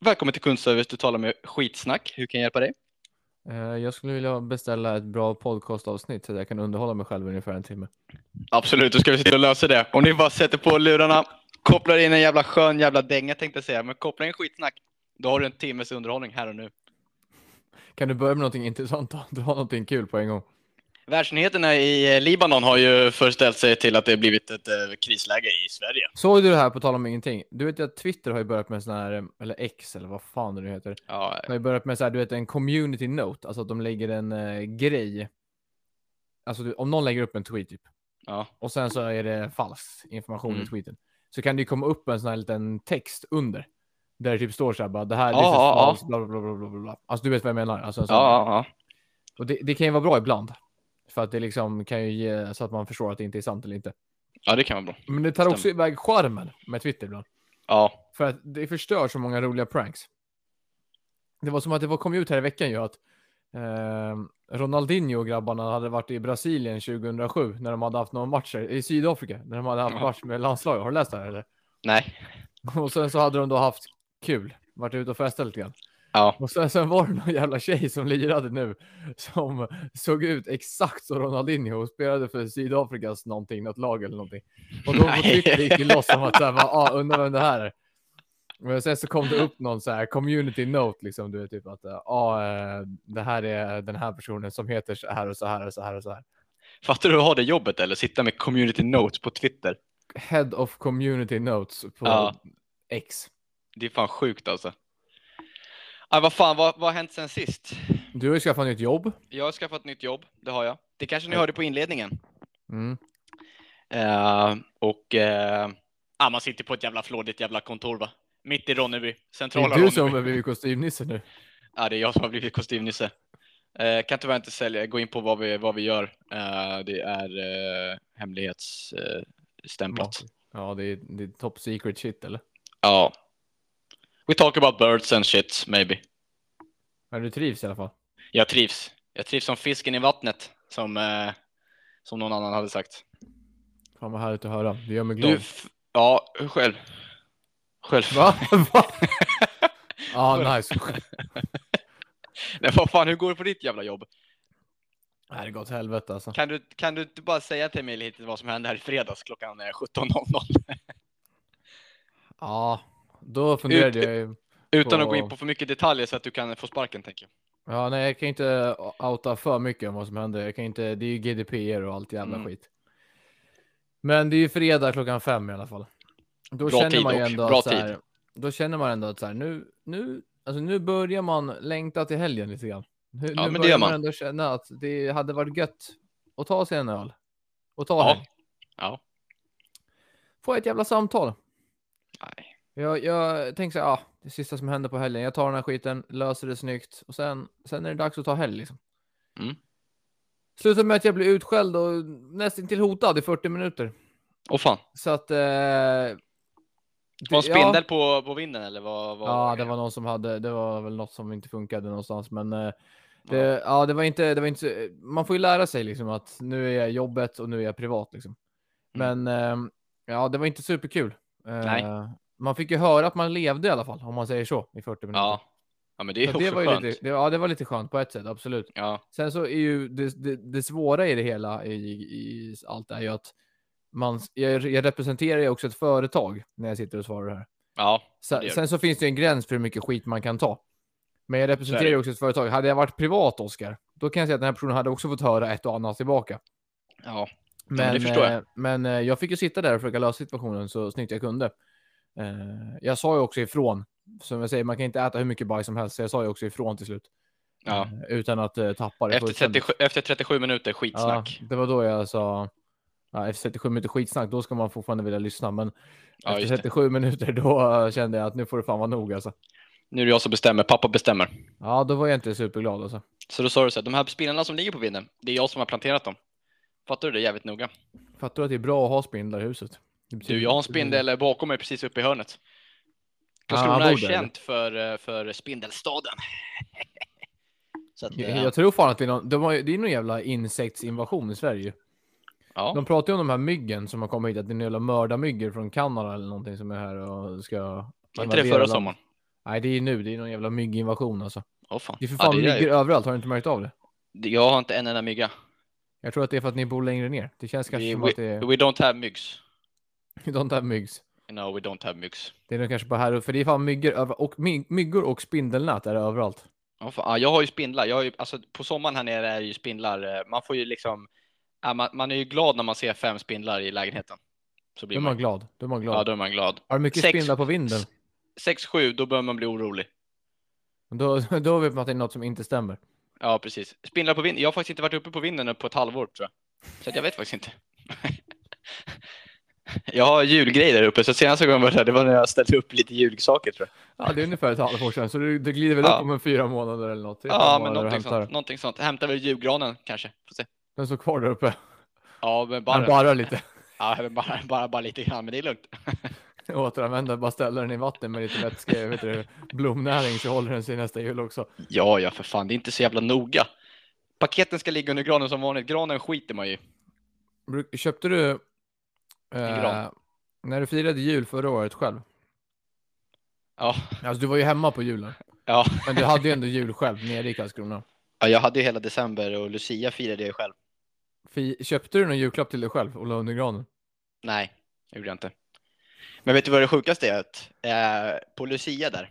Välkommen till kundservice, du talar med Skitsnack. Hur kan jag hjälpa dig? Eh, Jag skulle vilja beställa ett bra podcastavsnitt så att jag kan underhålla mig själv i ungefär en timme. Absolut, då ska vi sitta och lösa det. Om ni bara sätter på lurarna, kopplar in en jävla skön jävla dänga tänkte jag säga, men koppla in Skitsnack. Då har du en timmes underhållning här och nu. Kan du börja med någonting intressant och dra någonting kul på en gång? Världsnyheterna i eh, Libanon har ju förställt sig till att det blivit ett eh, krisläge i Sverige. Såg du det här på tal om ingenting? Du vet ju att Twitter har ju börjat med sån här, eh, eller X eller vad fan det nu heter. Ja, De har ju börjat med så här, du vet en community note, alltså att de lägger en eh, grej. Alltså du, om någon lägger upp en tweet typ. Ja. Och sen så är det falsk information Mm. i tweeten. Så kan det ju komma upp en sån här liten text under. Där det typ står så här bara, det här, Ja, this is ja, ja. false, bla, bla, bla, bla, bla, bla. Alltså du vet vad jag menar? Alltså, en sån- ja, ja. Och det, det kan ju vara bra ibland. För att det liksom kan ju ge så att man förstår att det inte är sant eller inte. ja det kan vara bra. Men det tar också iväg charmen med Twitter ibland. Ja, För att det förstör så många roliga pranks. Det var som att det var, kom ut här i veckan ju att eh, Ronaldinho och grabbarna hade varit i Brasilien 2007 när de hade haft några matcher i Sydafrika. När de hade haft Ja. match med landslaget. Har du läst det här eller? nej. Och sen så hade de då haft kul. Varit ute och festat lite grann. Ja. Och sen, sen var det någon jävla tjej som lirade nu som såg ut exakt som Ronaldinho och spelade för Sydafrikas någonting, något lag eller någonting. Och då på Nej. Twitter gick det loss som att såhär, ah, undrar vem det här är. Men sen så kom det upp någon så här community note liksom, du vet typ att eh, ah, eh, det här är den här personen som heter så här och så här och så här och så här. Fattar du att ha det jobbet eller? Sitta med community notes på Twitter. Head of community notes på Ja. X. Det är fan sjukt alltså. Ah, vad fan, vad, vad har hänt sen sist? Du har ju skaffat nytt jobb. Jag har skaffat nytt jobb, det har jag. Eh. Det kanske ni Ja. hörde på inledningen. Mm. Eh, och eh, ah, man sitter på ett jävla flådigt jävla kontor va? Mitt i Ronneby, Det centrala är du Ronneby. som har blivit kostymnisse nu. Ja, det är jag som har blivit kostymnisse. Eh, kan tyvärr inte sälja, gå in på vad vi, vad vi gör. Eh, det är eh, hemlighetsstämplat. Eh, stämplat. Ja, det är, det är top secret shit eller? Ja. We talk about birds and shit maybe. Men du trivs i alla fall. Jag trivs. Jag trivs som fisken i vattnet som, eh, som någon annan hade sagt. Fan vad härligt att höra. Det gör mig glad. Du, f- ja, själv. Själv. Va? Va? ah, nice. Nej, vad fan, hur går det på ditt jävla jobb? Det här går åt helvete alltså. Kan du, kan du inte bara säga till mig lite vad som hände här i fredags klockan eh, 17.00? Ja, då funderade Ut- jag ju. Utan att gå in Åh. på för mycket detaljer så att du kan få sparken, tänker jag. Ja, nej, jag kan inte outa för mycket om vad som hände. Jag kan inte, det är ju GDPR och allt jävla Mm. skit. Men det är ju fredag klockan fem i alla fall. Då Bra känner tid man ju dock. ändå Bra att så här, Då känner man ändå att så här, nu, nu, alltså nu börjar man längta till helgen lite grann. Nu, Ja, nu men det börjar gör man man. ändå känna att det hade varit gött att ta sig en öl. Och ta Ja. helg. Ja. Får jag ett jävla samtal. Nej. Jag, jag tänker så här, ah, det sista som händer på helgen. Jag tar den här skiten, löser det snyggt och sen, sen är det dags att ta helg liksom. Mm. Slutar med att jag blir utskälld och nästan till hotad i 40 minuter. Åh fan. Så att... Eh, det, Var en Ja, spindel på, på vinden eller vad? vad ja, det var någon som hade, det var väl något som inte funkade någonstans, men eh, det, ja, det var inte, det var inte, så- man får ju lära sig liksom att nu är jag jobbet och nu är jag privat liksom. Mm. Men eh, ja, det var inte superkul. Eh, Nej. Man fick ju höra att man levde i alla fall, om man säger så, i 40 minuter. Ja. ja, men det är Så också att det var ju skönt. lite, det, ja, det var lite skönt på ett sätt, absolut. Ja. Sen så är ju det, det, det svåra i det hela, i, i allt det här, är ju att man, jag, jag representerar ju också ett företag när jag sitter och svarar här. ja, Sen, Det gör du. sen så finns det ju en gräns för hur mycket skit man kan ta. Men jag Så är representerar det. ju också ett företag. Hade jag varit privat, Oskar, då kan jag säga att den här personen hade också fått höra ett och annat tillbaka. ja. men Men, det förstår jag. eh, men eh, jag fick ju sitta där och försöka lösa situationen så snyggt jag kunde. Eh, jag sa ju också ifrån. Som jag säger, man kan inte äta hur mycket bajs som helst, så jag sa ju också ifrån till slut. ja. Eh, Utan att eh, tappa det Efter, fullständigt. 37, efter 37 minuter skitsnack. Ja, det var då jag sa, ja, efter 37 minuter skitsnack, då ska man fortfarande vilja lyssna. Men Ja, efter just det. 37 minuter, då eh, kände jag att nu får det fan vara nog alltså. Nu är det jag som bestämmer, pappa bestämmer. Ja, då var jag inte superglad alltså. Så då sa du så här, de här spindlarna som ligger på vinden, det är jag som har planterat dem. Fattar du det jävligt noga? Fattar du att det är bra att ha spindlar i huset? Det betyder- Du, jag har en Typ spindel bakom mig precis uppe i hörnet. Ah, Karlskrona bor är där, eller? känt för, eh, för spindelstaden. Så att, eh, Jag, jag tror fan att det är någon, de har, ju- det är någon jävla insektsinvasion i Sverige. ja, De pratar ju om de här myggen som har kommit hit, att det är några mördarmyggor från Kanada eller någonting som är här och ska... var inte det förra sommaren? Nej, det är nu. Det är någon jävla mygginvasion alltså. Åh fan. Det är för Ja, fan det är- myggor överallt. Har du inte märkt av det? Jag har inte en enda mygga. Jag tror att det är för att ni bor längre ner. Det känns kanske Vi- som att det är... We don't have myggs. Don't have myggs. No, we don't have myggs. Det är nog kanske bara här uppe. För det är fan myggor över... och my- myggor och spindelnät är det överallt. Ja, fan. Ja, jag har ju spindlar. Jag har ju, alltså, på sommaren här nere är det ju spindlar. eh, Man får ju liksom, ja, man, man är ju glad när man ser fem spindlar i lägenheten. Så Då blir är man, man glad. Då är man glad. ja, då är man glad. Har du mycket Sex- spindlar på vinden? s- sex sju då börjar man bli orolig. Då, då vet man att det är något som inte stämmer. Ja, precis. Spindlar på vinden. Jag har faktiskt inte varit uppe på vinden nu på ett halvår tror jag. Så att jag vet faktiskt inte. jag har julgrejer där uppe, så senaste gången jag var där, det var när jag ställde upp lite julsaker tror jag. Ja, det är ungefär ett halvår sedan. Så du, du glider väl Ja. upp om en fyra månader eller något. Det är Ja, fem men månader någonting och hämtar. sånt. Någonting sånt. Hämtar väl julgranen kanske. Får se. Den står kvar där uppe. Ja, men Han bara, barrar lite. ja, bara, bara, bara lite grann, men det är lugnt. Återanvänder, bara ställer den i vatten med lite vätske, vet du, blomnäring så håller den sig nästa jul också. Ja, ja, för fan. Det är inte så jävla noga. Paketen ska ligga under granen som vanligt. Granen skiter man ju i. Bruk- Köpte du... En gran. Eh, när du firade jul förra året själv. Ja, Alltså du var ju hemma på julen. ja. Men du hade ju ändå jul själv nere i Karlskrona. ja jag hade ju hela december och Lucia firade jag själv. Fi- köpte du någon julklapp till dig själv och la under granen? Nej, det gjorde jag inte. Men vet du vad det sjukaste är? Att, eh, på Lucia där,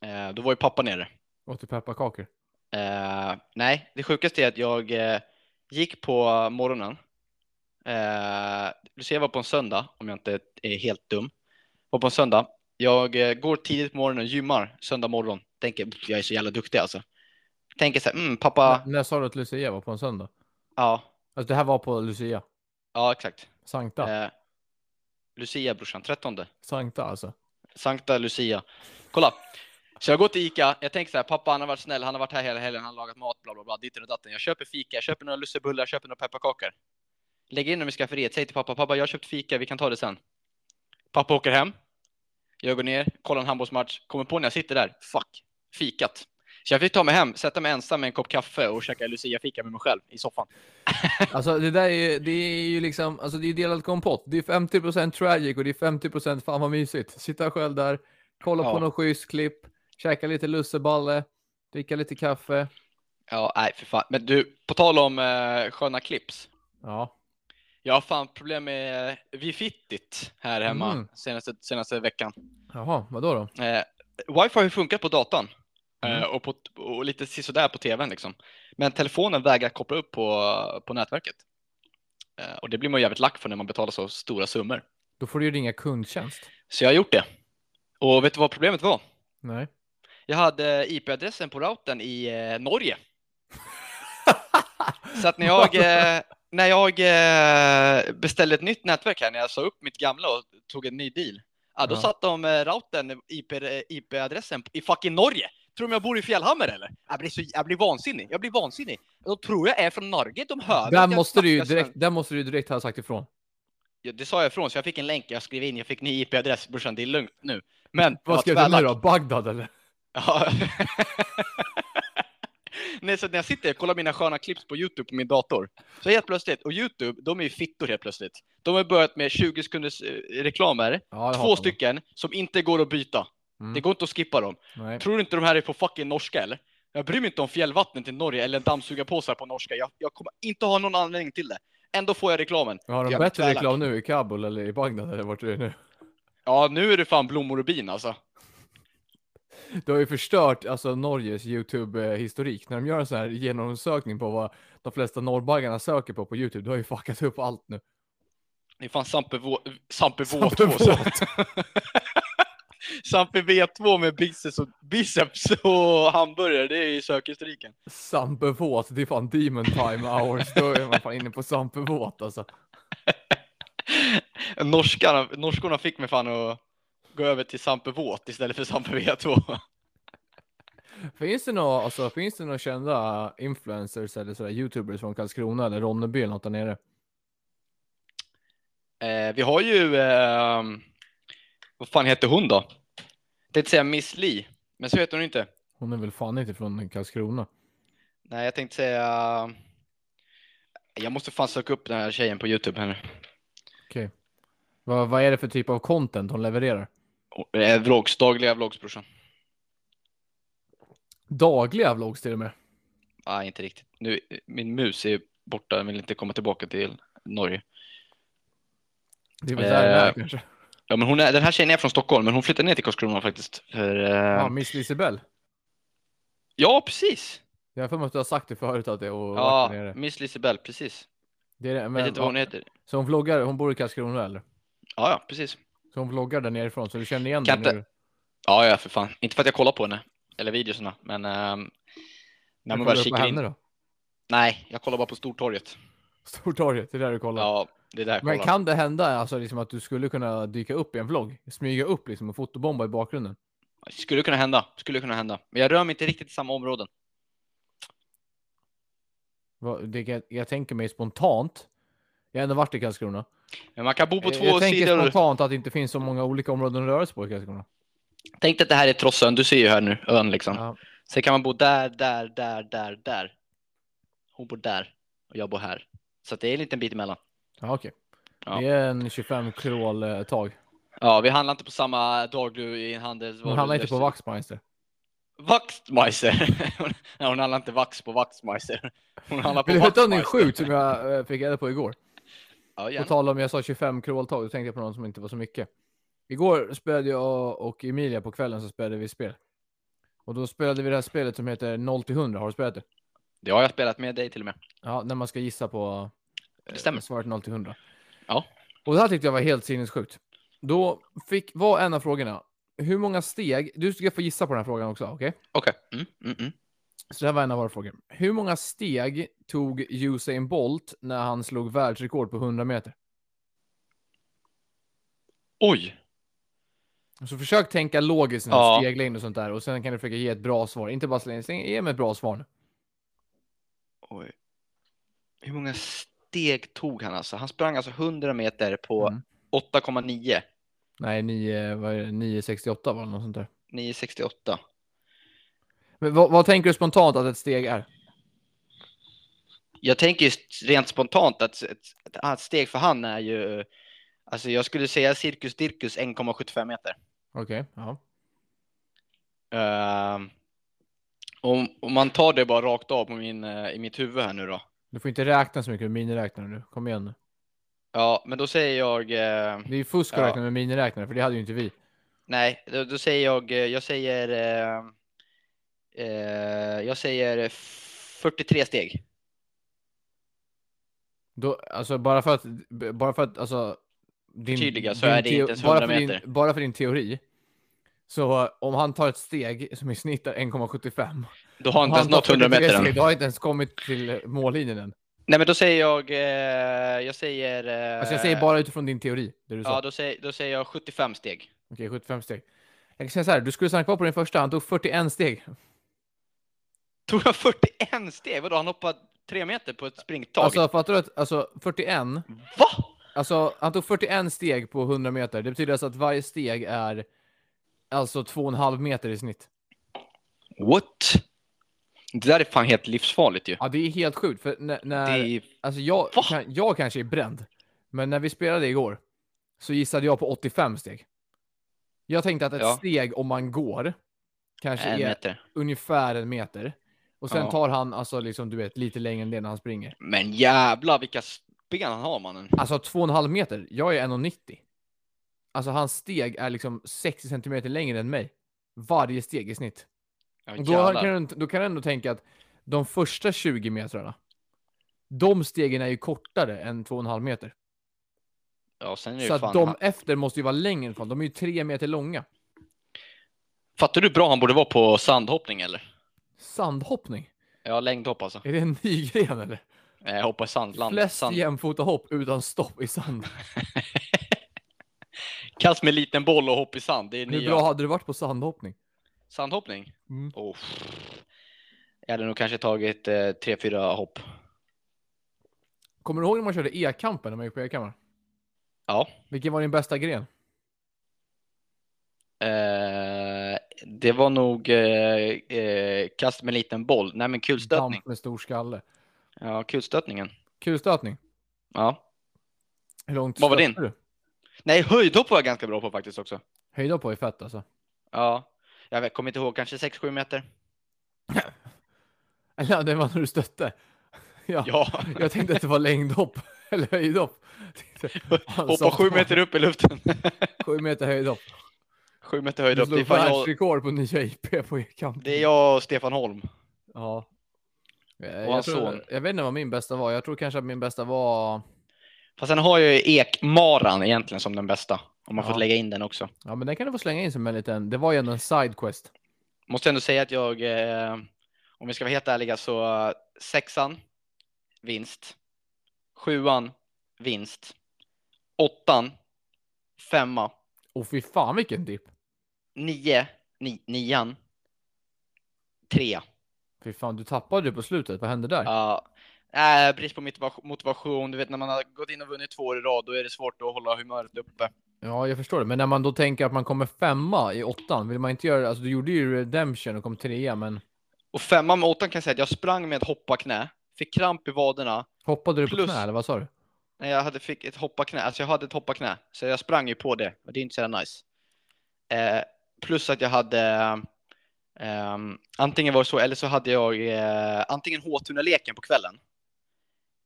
eh, då var ju pappa nere. Åt du pepparkakor? Eh, nej, det sjukaste är att jag eh, gick på morgonen. Eh, Lucia var på en söndag, om jag inte är helt dum. Var på en söndag. Jag eh, går tidigt på morgonen och gymmar söndag morgon. Tänker, "Pff, jag är så jävla duktig alltså. Tänker så här, mm, pappa, N- När sa du att Lucia var på en söndag? ja, Alltså det här var på Lucia. ja exakt. Sankta. Eh, Lucia brorsan, 13. Sankta alltså. Sankta Lucia. Kolla. Så jag går till Ica, jag tänker så här, pappa han har varit snäll, han har varit här hela helgen, han har lagat mat, bla bla bla, ditten och datten. Jag köper fika, jag köper några lussebullar, jag köper några pepparkakor. Lägger in dem i skafferiet, säger till pappa, pappa jag har köpt fika, vi kan ta det sen. Pappa åker hem. Jag går ner, kollar en handbollsmatch, kommer på när jag sitter där, fuck, fikat. Så jag fick ta mig hem, sätta mig ensam med en kopp kaffe och käka Lucia-fika med mig själv i soffan. Alltså det där är ju, det är ju liksom, alltså det är delad kompott. Det är 50% tragic och det är 50% fan vad mysigt. Sitta själv där, kolla på Ja. någon schysst klipp, käka lite lusseballe, dricka lite kaffe. Ja, nej för fan. Men du, på tal om eh, sköna klipps. Ja, Jag har fan problem med Wi-Fittit här hemma Mm. senaste, senaste veckan. jaha, vadå då? Eh, wifi har ju funkat på datorn Mm. eh, och, på, och lite sisådär på tvn liksom. Men telefonen vägrar koppla upp på, på nätverket. Eh, och det blir man ju jävligt lack för när man betalar så stora summor. Då får du ju ringa kundtjänst. Så jag har gjort det. Och vet du vad problemet var? Nej. Jag hade IP-adressen på routern i eh, Norge. Så att när jag, eh, när jag eh, beställde ett nytt nätverk här, när jag sa upp mitt gamla och tog en ny deal, ja, då Ja. satt de eh, routern, IP, eh, IP-adressen, i fucking Norge. Tror de jag bor i Fjällhammer eller? Jag blir, så, jag blir vansinnig. Jag blir vansinnig. De tror jag är från Norge. De hör att Där jag måste, du ju snackar direkt, sven- där måste du ju direkt ha sagt ifrån. Ja, det sa jag ifrån, så jag fick en länk. Jag skrev in, jag fick ny IP-adress. Brorsan, det är lugnt nu. Men jag Vad var skrev du nu tvärlack. då? Bagdad eller? Ja. Nej, så när jag sitter och kollar mina sköna klipps på Youtube på min dator, så helt plötsligt, och Youtube, de är ju fittor helt plötsligt. De har börjat med 20 sekunders eh, reklamer, Ja, jag hatar två dem. stycken, som inte går att byta. Mm. Det går inte att skippa dem. Nej. Tror du inte de här är på fucking norska eller? Jag bryr mig inte om fjällvattnet i Norge eller dammsugarpåsar på norska. Jag, jag kommer inte ha någon anledning till det. Ändå får jag reklamen. Har de Jag blir bättre tvärlack. reklam nu i Kabul eller i Bagdad eller vart du är nu? Ja, nu är det fan blommor och bin alltså. Det har ju förstört alltså, Norges YouTube-historik. När de gör en sån här genomsökning på vad de flesta norrbaggarna söker på på YouTube, då har ju fuckat upp allt nu. Det är fan Sampe Vå- Sampe Sampe V2. så- Sampe V2 med biceps och, biceps och hamburgare, det är i sökhistoriken. Sampevåt, det är fan demon time hours. Då är man fan inne på sampevåt alltså. Norskarna, norskorna fick mig fan att gå över till Sampe Våt istället för Sampe V2. Finns det några alltså, finns det några kända influencers eller sådär, YouTubers från Karlskrona eller Ronneby eller något där nere? Eh, vi har ju, ehm, vad fan heter hon då? Det vill säga Miss Li, men så heter hon inte. Hon är väl fan inte från Karlskrona? Nej, jag tänkte säga, jag måste fan söka upp den här tjejen på Youtube här nu. Okej. Vad, vad är det för typ av content hon levererar? Och- eh, Vlogs, dagliga vlogs brorsan. Dagliga vlogs till och med. Nej, inte riktigt. Nu, min mus är borta, den vill inte komma tillbaka till Norge. Det är väl där det är Eh, kanske. Ja, men hon är, den här tjejen är från Stockholm, men hon flyttade ner till Karlskrona faktiskt. För, eh, Ja, Miss Lisebell. ja, precis. Jag har för mig att du har sagt det förut att det är och varit Ja, där nere. Miss Lisebell, precis. det är det. Jag Men, vet inte vad hon heter. Så hon vloggar, hon bor i Karlskrona eller? Ja, ja, precis. Så hon vloggar där nerifrån så du känner igen Kan det inte- nu? Ja, ja, för fan. Inte för att jag kollar på henne eller videorna, men ehm, när man bara kikar in. henne då? Nej, jag kollar bara på Stortorget. Stortorget, det är där du kollar. Ja, det är där jag Men kollar. kan det hända alltså, liksom, att du skulle kunna dyka upp i en vlogg? Smyga upp liksom, och fotobomba i bakgrunden? Skulle kunna hända, skulle kunna hända. Men jag rör mig inte riktigt i samma områden. Vad- Det, jag, jag tänker mig spontant. Jag har ändå varit i Karlskrona. Men man kan bo på jag, två jag tänker sidor. spontant att det inte finns så många olika områden att röra sig på i Karlskrona. Tänk dig att det här är Trossön, du ser ju här nu, ön liksom. Ja. Sen kan man bo där, där, där, där, där. Hon bor där och jag bor här. Så att det är en liten bit emellan. Ja, okej. Ja. Det är en 25 krål eh, tag. Ja, vi handlar inte på samma dag du i en handel. Hon handlar inte på Waxmeister. Vaxmeiser. Nej, hon handlar inte vax på Vaxmeiser. Hon handlar på Vill du veta om det är Vaxmeister. sjukt som jag eh, fick reda på igår? Ja, På gärna. tal om jag sa 25 kråltag, då tänkte jag på någon som inte var så mycket. Igår spelade jag och Emilia på kvällen så spelade vi spel. Och då spelade vi det här spelet som heter 0 till 100. Har du spelat det? Det har jag spelat med dig till och med. Ja, när man ska gissa på eh, Det stämmer. svaret 0 till 100. Ja. Och det här tyckte jag var helt sinnessjukt. Då fick, var en av frågorna, hur många steg, du ska få gissa på den här frågan också, okej? Okej. Mm, mm, mm. Så det här var en av våra frågor. Hur många steg tog Usain Bolt när han slog världsrekord på 100 meter? Oj. Så försök tänka logiskt när Ja. ja. steglängd och sånt där och sen kan du försöka ge ett bra svar. Inte bara slänga in, släng- ge mig ett bra svar nu. Oj. Hur många steg tog han alltså? Han sprang alltså 100 meter på Mm. 8,9. Nej, 9, vad är det, 968 var det något sånt där. 9,68. Men vad, vad tänker du spontant att ett steg är? Jag tänker ju rent spontant att ett, ett, ett steg för han är ju... Alltså jag skulle säga cirkus dirkus 1,75 meter. Okej, ja. Ehm, om, om man tar det bara rakt av på min, eh, i mitt huvud här nu då. Du får inte räkna så mycket med miniräknare nu. Kom igen nu. Ja, men då säger jag... eh, Det är ju fusk att Ja. räkna med miniräknare, för det hade ju inte vi. nej, då, då säger jag... eh, Jag säger... eh, eh, jag säger 43 steg. Då, alltså bara för att, b- bara för att, alltså. Din, Förtydliga, så är det teo- inte ens bara 100 för meter. Din, bara för din teori. Så eh, om han tar ett steg som i snitt är 1,75. Då har och inte ens han tar nått 100 meter 43 än. steg, Då har jag inte ens kommit till eh, mållinjen än. Nej, men då säger jag... Eh, jag säger... Eh, Alltså jag säger bara utifrån din teori. Det du sa. Ja, då säger, då säger jag 75 steg. Okej, 75 steg. Jag kan säga så här, du skulle stanna kvar på din första, han tog 41 steg. Tog jag 41 steg? Vadå, han hoppade 3 meter på ett springtag? Alltså fattar du att, alltså 41, Va? alltså han tog 41 steg på 100 meter. Det betyder alltså att varje steg är alltså 2,5 meter i snitt. What? Det där är fan helt livsfarligt ju. Ja, det är helt sjukt, för när, när Det är... alltså jag, Va? kan, jag kanske är bränd, men när vi spelade igår så gissade jag på 85 steg. Jag tänkte att ett Ja. steg om man går kanske En är meter. ungefär en meter. Och sen Ja. tar han alltså liksom, du vet, lite längre än det när han springer. Men jävla vilka s- ben han har mannen. Alltså två och en halv meter. Jag är 1,90. Alltså hans steg är liksom 60 centimeter längre än mig. Varje steg i snitt. Ja, Och då, jävlar. kan du, då kan du ändå tänka att de första 20 metrarna, de stegen är ju kortare än två och en halv meter. ja, sen är det Så ju att fan... de han- efter måste ju vara längre ifrån. De är ju tre meter långa. Fattar du hur bra han borde vara på sandhoppning eller? Sandhoppning? Ja, längdhopp alltså. Är det en ny gren eller? Eh, hoppa i sandland. Flest Sand... jämfota hopp utan stopp i sand. Kast med liten boll och hopp i sand. Det är Hur nya. bra hade du varit på sandhoppning? Sandhoppning? Mm. Oh. Jag hade nog kanske tagit eh, tre, fyra hopp. Kommer du ihåg när man körde e-kampen när man gick på e-kammaren? Ja. Vilken var din bästa gren? Eh, det var nog eh, eh, kast med liten boll. Nej, men kulstötning. Damp med stor skalle. Ja, kulstötningen. Kulstötning. Ja. Hur långt Vad var stötte du? Nej, höjdhopp var jag ganska bra på faktiskt också. Höjda på är fett alltså. Ja, jag vet- kommer inte ihåg, kanske 6-7 meter. Ja, det var när du stötte. Ja, Ja, Jag tänkte att det var längdhopp eller höjdhopp. Tänkte, han hoppa sa- sju meter upp i luften. Sju meter höjdhopp. Sju meter Du höjd upp. Det slog är, fan jag, världsrekord på nya IP på e-kamp. det är jag och Stefan Holm. Ja. Eh, Jag, hans son. tror, jag vet inte vad min bästa var. Jag tror kanske att min bästa var... Fast sen har jag ju Ekmaran egentligen som den bästa. Om man Ja. fått lägga in den också. Ja, men den kan du få slänga in som en liten... Det var ju ändå en sidequest. Måste ändå säga att jag, eh, om vi ska vara helt ärliga, så eh, sexan, vinst. Sjuan, vinst. Åttan, femma. Och fy fan vilken dipp. Nio, ni, nian. Trea. Fy fan, du tappade ju på slutet. Vad hände där? Ja. Äh, brist på motiva- motivation. Du vet när man har gått in och vunnit två år i rad, då är det svårt att hålla humöret uppe. Ja, jag förstår det. Men när man då tänker att man kommer femma i åttan, vill man inte göra... Alltså, du gjorde ju redemption och kom trea, men Och femman med åttan kan jag säga att jag sprang med ett hopparknä, fick kramp i vaderna. hoppade du på Plus- knä, eller vad sa du? Nej, jag hade fick ett hopparknä, alltså jag hade ett hopparknä, så jag sprang ju på det och det är inte så jävla nice. Eh, plus att jag hade, ehm, antingen var det så eller så hade jag eh, antingen Håtunaleken på kvällen.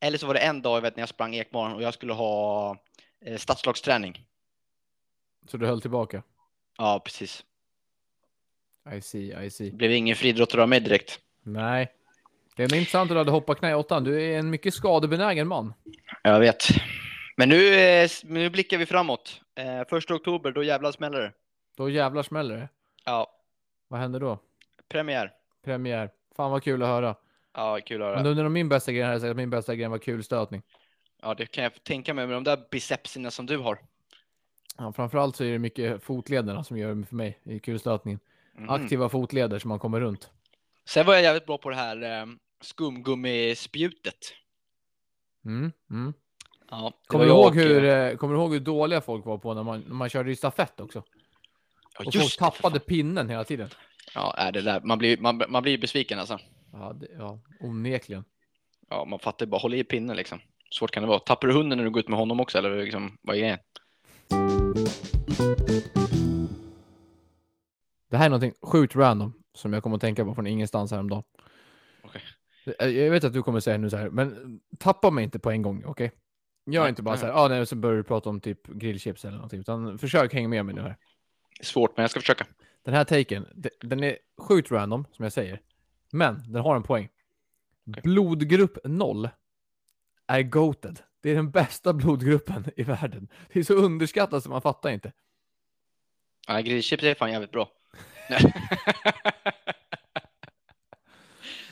Eller så var det en dag jag vet, när jag sprang Ekmaran och jag skulle ha eh, stadslagsträning. Så du höll tillbaka? Ja, precis. I see, I see. Det blev ingen friidrottare av mig direkt. Nej. Det är ändå intressant att du hade hoppat knä i åttan. Du är en mycket skadebenägen man. Jag vet. Men nu, eh, s- nu blickar vi framåt. Eh, första oktober, då jävlar smäller det. Då jävlar smäller det. Ja, Vad händer då? premiär. Premiär. Fan vad kul att höra. Ja, kul att höra. Men under min bästa gren hade jag sagt att min bästa gren var kulstötning. Ja, det kan jag tänka mig med de där bicepserna som du har. Ja, framförallt så är det mycket fotlederna som gör det för mig i kulstötningen. Mm. Aktiva fotleder som man kommer runt. Sen var jag jävligt bra på det här eh, skumgummispjutet. Mm, mm. Ja, det Kommer, du var jag ihåg och, hur, eh, eh, kommer du ihåg hur dåliga folk var på när man, när man körde i stafett också? Ja, just Och folk det, för tappade fan. pinnen hela tiden. Ja, är det där. Man blir ju man, man blir ju besviken alltså. Ja, det, ja onekligen. Ja, man fattar ju bara. Håll i pinnen liksom. Svårt kan det vara. Tappar du hunden när du går ut med honom också? Eller liksom, vad är grejen? Det här är någonting sjukt random som jag kommer att tänka på från ingenstans häromdagen. Okej. Eh, Jag vet att du kommer säga nu så här, men tappa mig inte på en gång, okej? Gör Nej, inte bara nej. så här, ah, nej, så börjar du prata om typ grillchips eller någonting, utan försök hänga med mig nu här. Det är svårt, men jag ska försöka. Den här taken, de- den är sjukt random, som jag säger, men den har en poäng. Okej. Blodgrupp 0 är goated. Det är den bästa blodgruppen i världen. Det är så underskattat så man fattar inte. Ja, grillchips är fan jävligt bra. Nej.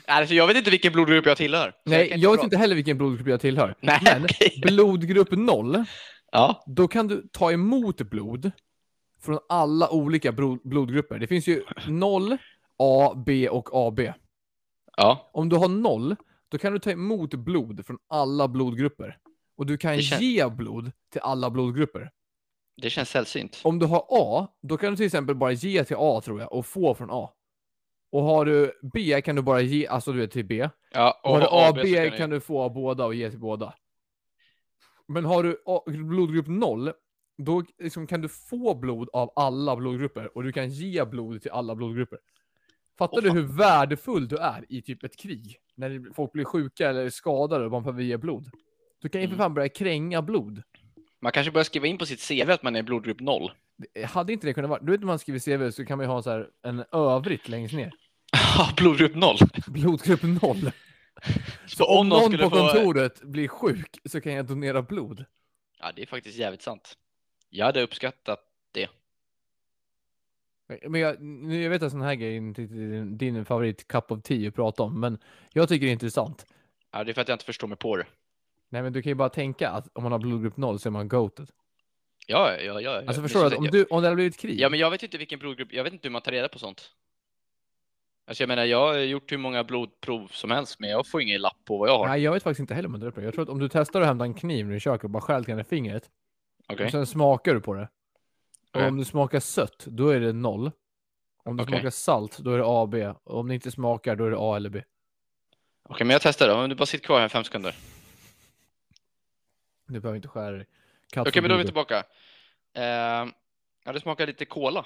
alltså, jag vet inte vilken blodgrupp jag tillhör. så Nej, kan inte jag, vet prata. inte heller vilken blodgrupp jag tillhör. Nej, Men okej. blodgrupp 0 Ja, då kan du ta emot blod från alla olika bro- blodgrupper. Det finns ju 0, A, B och AB. ja. Om du har 0, då kan du ta emot blod från alla blodgrupper. Och du kan Det kän- ge blod till alla blodgrupper. Det känns sällsynt. Om du har A, då kan du till exempel bara ge till A tror jag och få från A. Och har du B kan du bara ge, alltså du vet till B. Ja, Och har du AB kan du få av båda och ge till båda. Men har du A- blodgrupp 0, då liksom kan du få blod av alla blodgrupper och du kan ge blod till alla blodgrupper. Fattar Åh, du fan. hur värdefull du är i typ ett krig? När det- folk blir sjuka eller skadade och man behöver ge blod. Du kan ju för Mm. fan börja kränga blod. Man kanske börjar skriva in på sitt CV att man är blodgrupp 0. Det- Hade inte det kunnat vara... Du vet när man skriver CV så kan man ju ha så här en övrigt längst ner. blodgrupp 0. Blodgrupp 0. Så om någon, Någon skulle på få... kontoret blir sjuk så kan jag donera blod. Ja, det är faktiskt jävligt sant. Jag hade uppskattat. Men jag, nu- jag vet att sån här grej är inte riktigt din favorit cup of tea att prata om, men jag tycker det är intressant. Ja, det är för att jag inte förstår mig på det. Nej, men du kan ju bara tänka att om man har blodgrupp 0 så är man goated. Ja, ja, ja. Alltså förstår du att om, jag... du, om det hade blivit krig. Ja, men jag vet inte vilken blodgrupp. Jag vet inte hur man tar reda på sånt. Alltså jag menar, jag har gjort hur många blodprov som helst, men jag får ingen lapp på vad jag har. Nej, jag vet faktiskt inte heller om det är det. Jag tror att om du testar att hämta en kniv nu i köket och bara skär lite grann i fingret Okej. och sen smakar du på det. Och Okej. om du smakar sött, då är det 0. Om du Okej. smakar salt, då är det AB. Och om det inte smakar, då är det A eller B. Okej, men jag testar då. Om du bara sitter kvar här i fem sekunder. Du behöver inte skära dig. Okej, men då är vi tillbaka. Eh, ja, det smakar lite cola.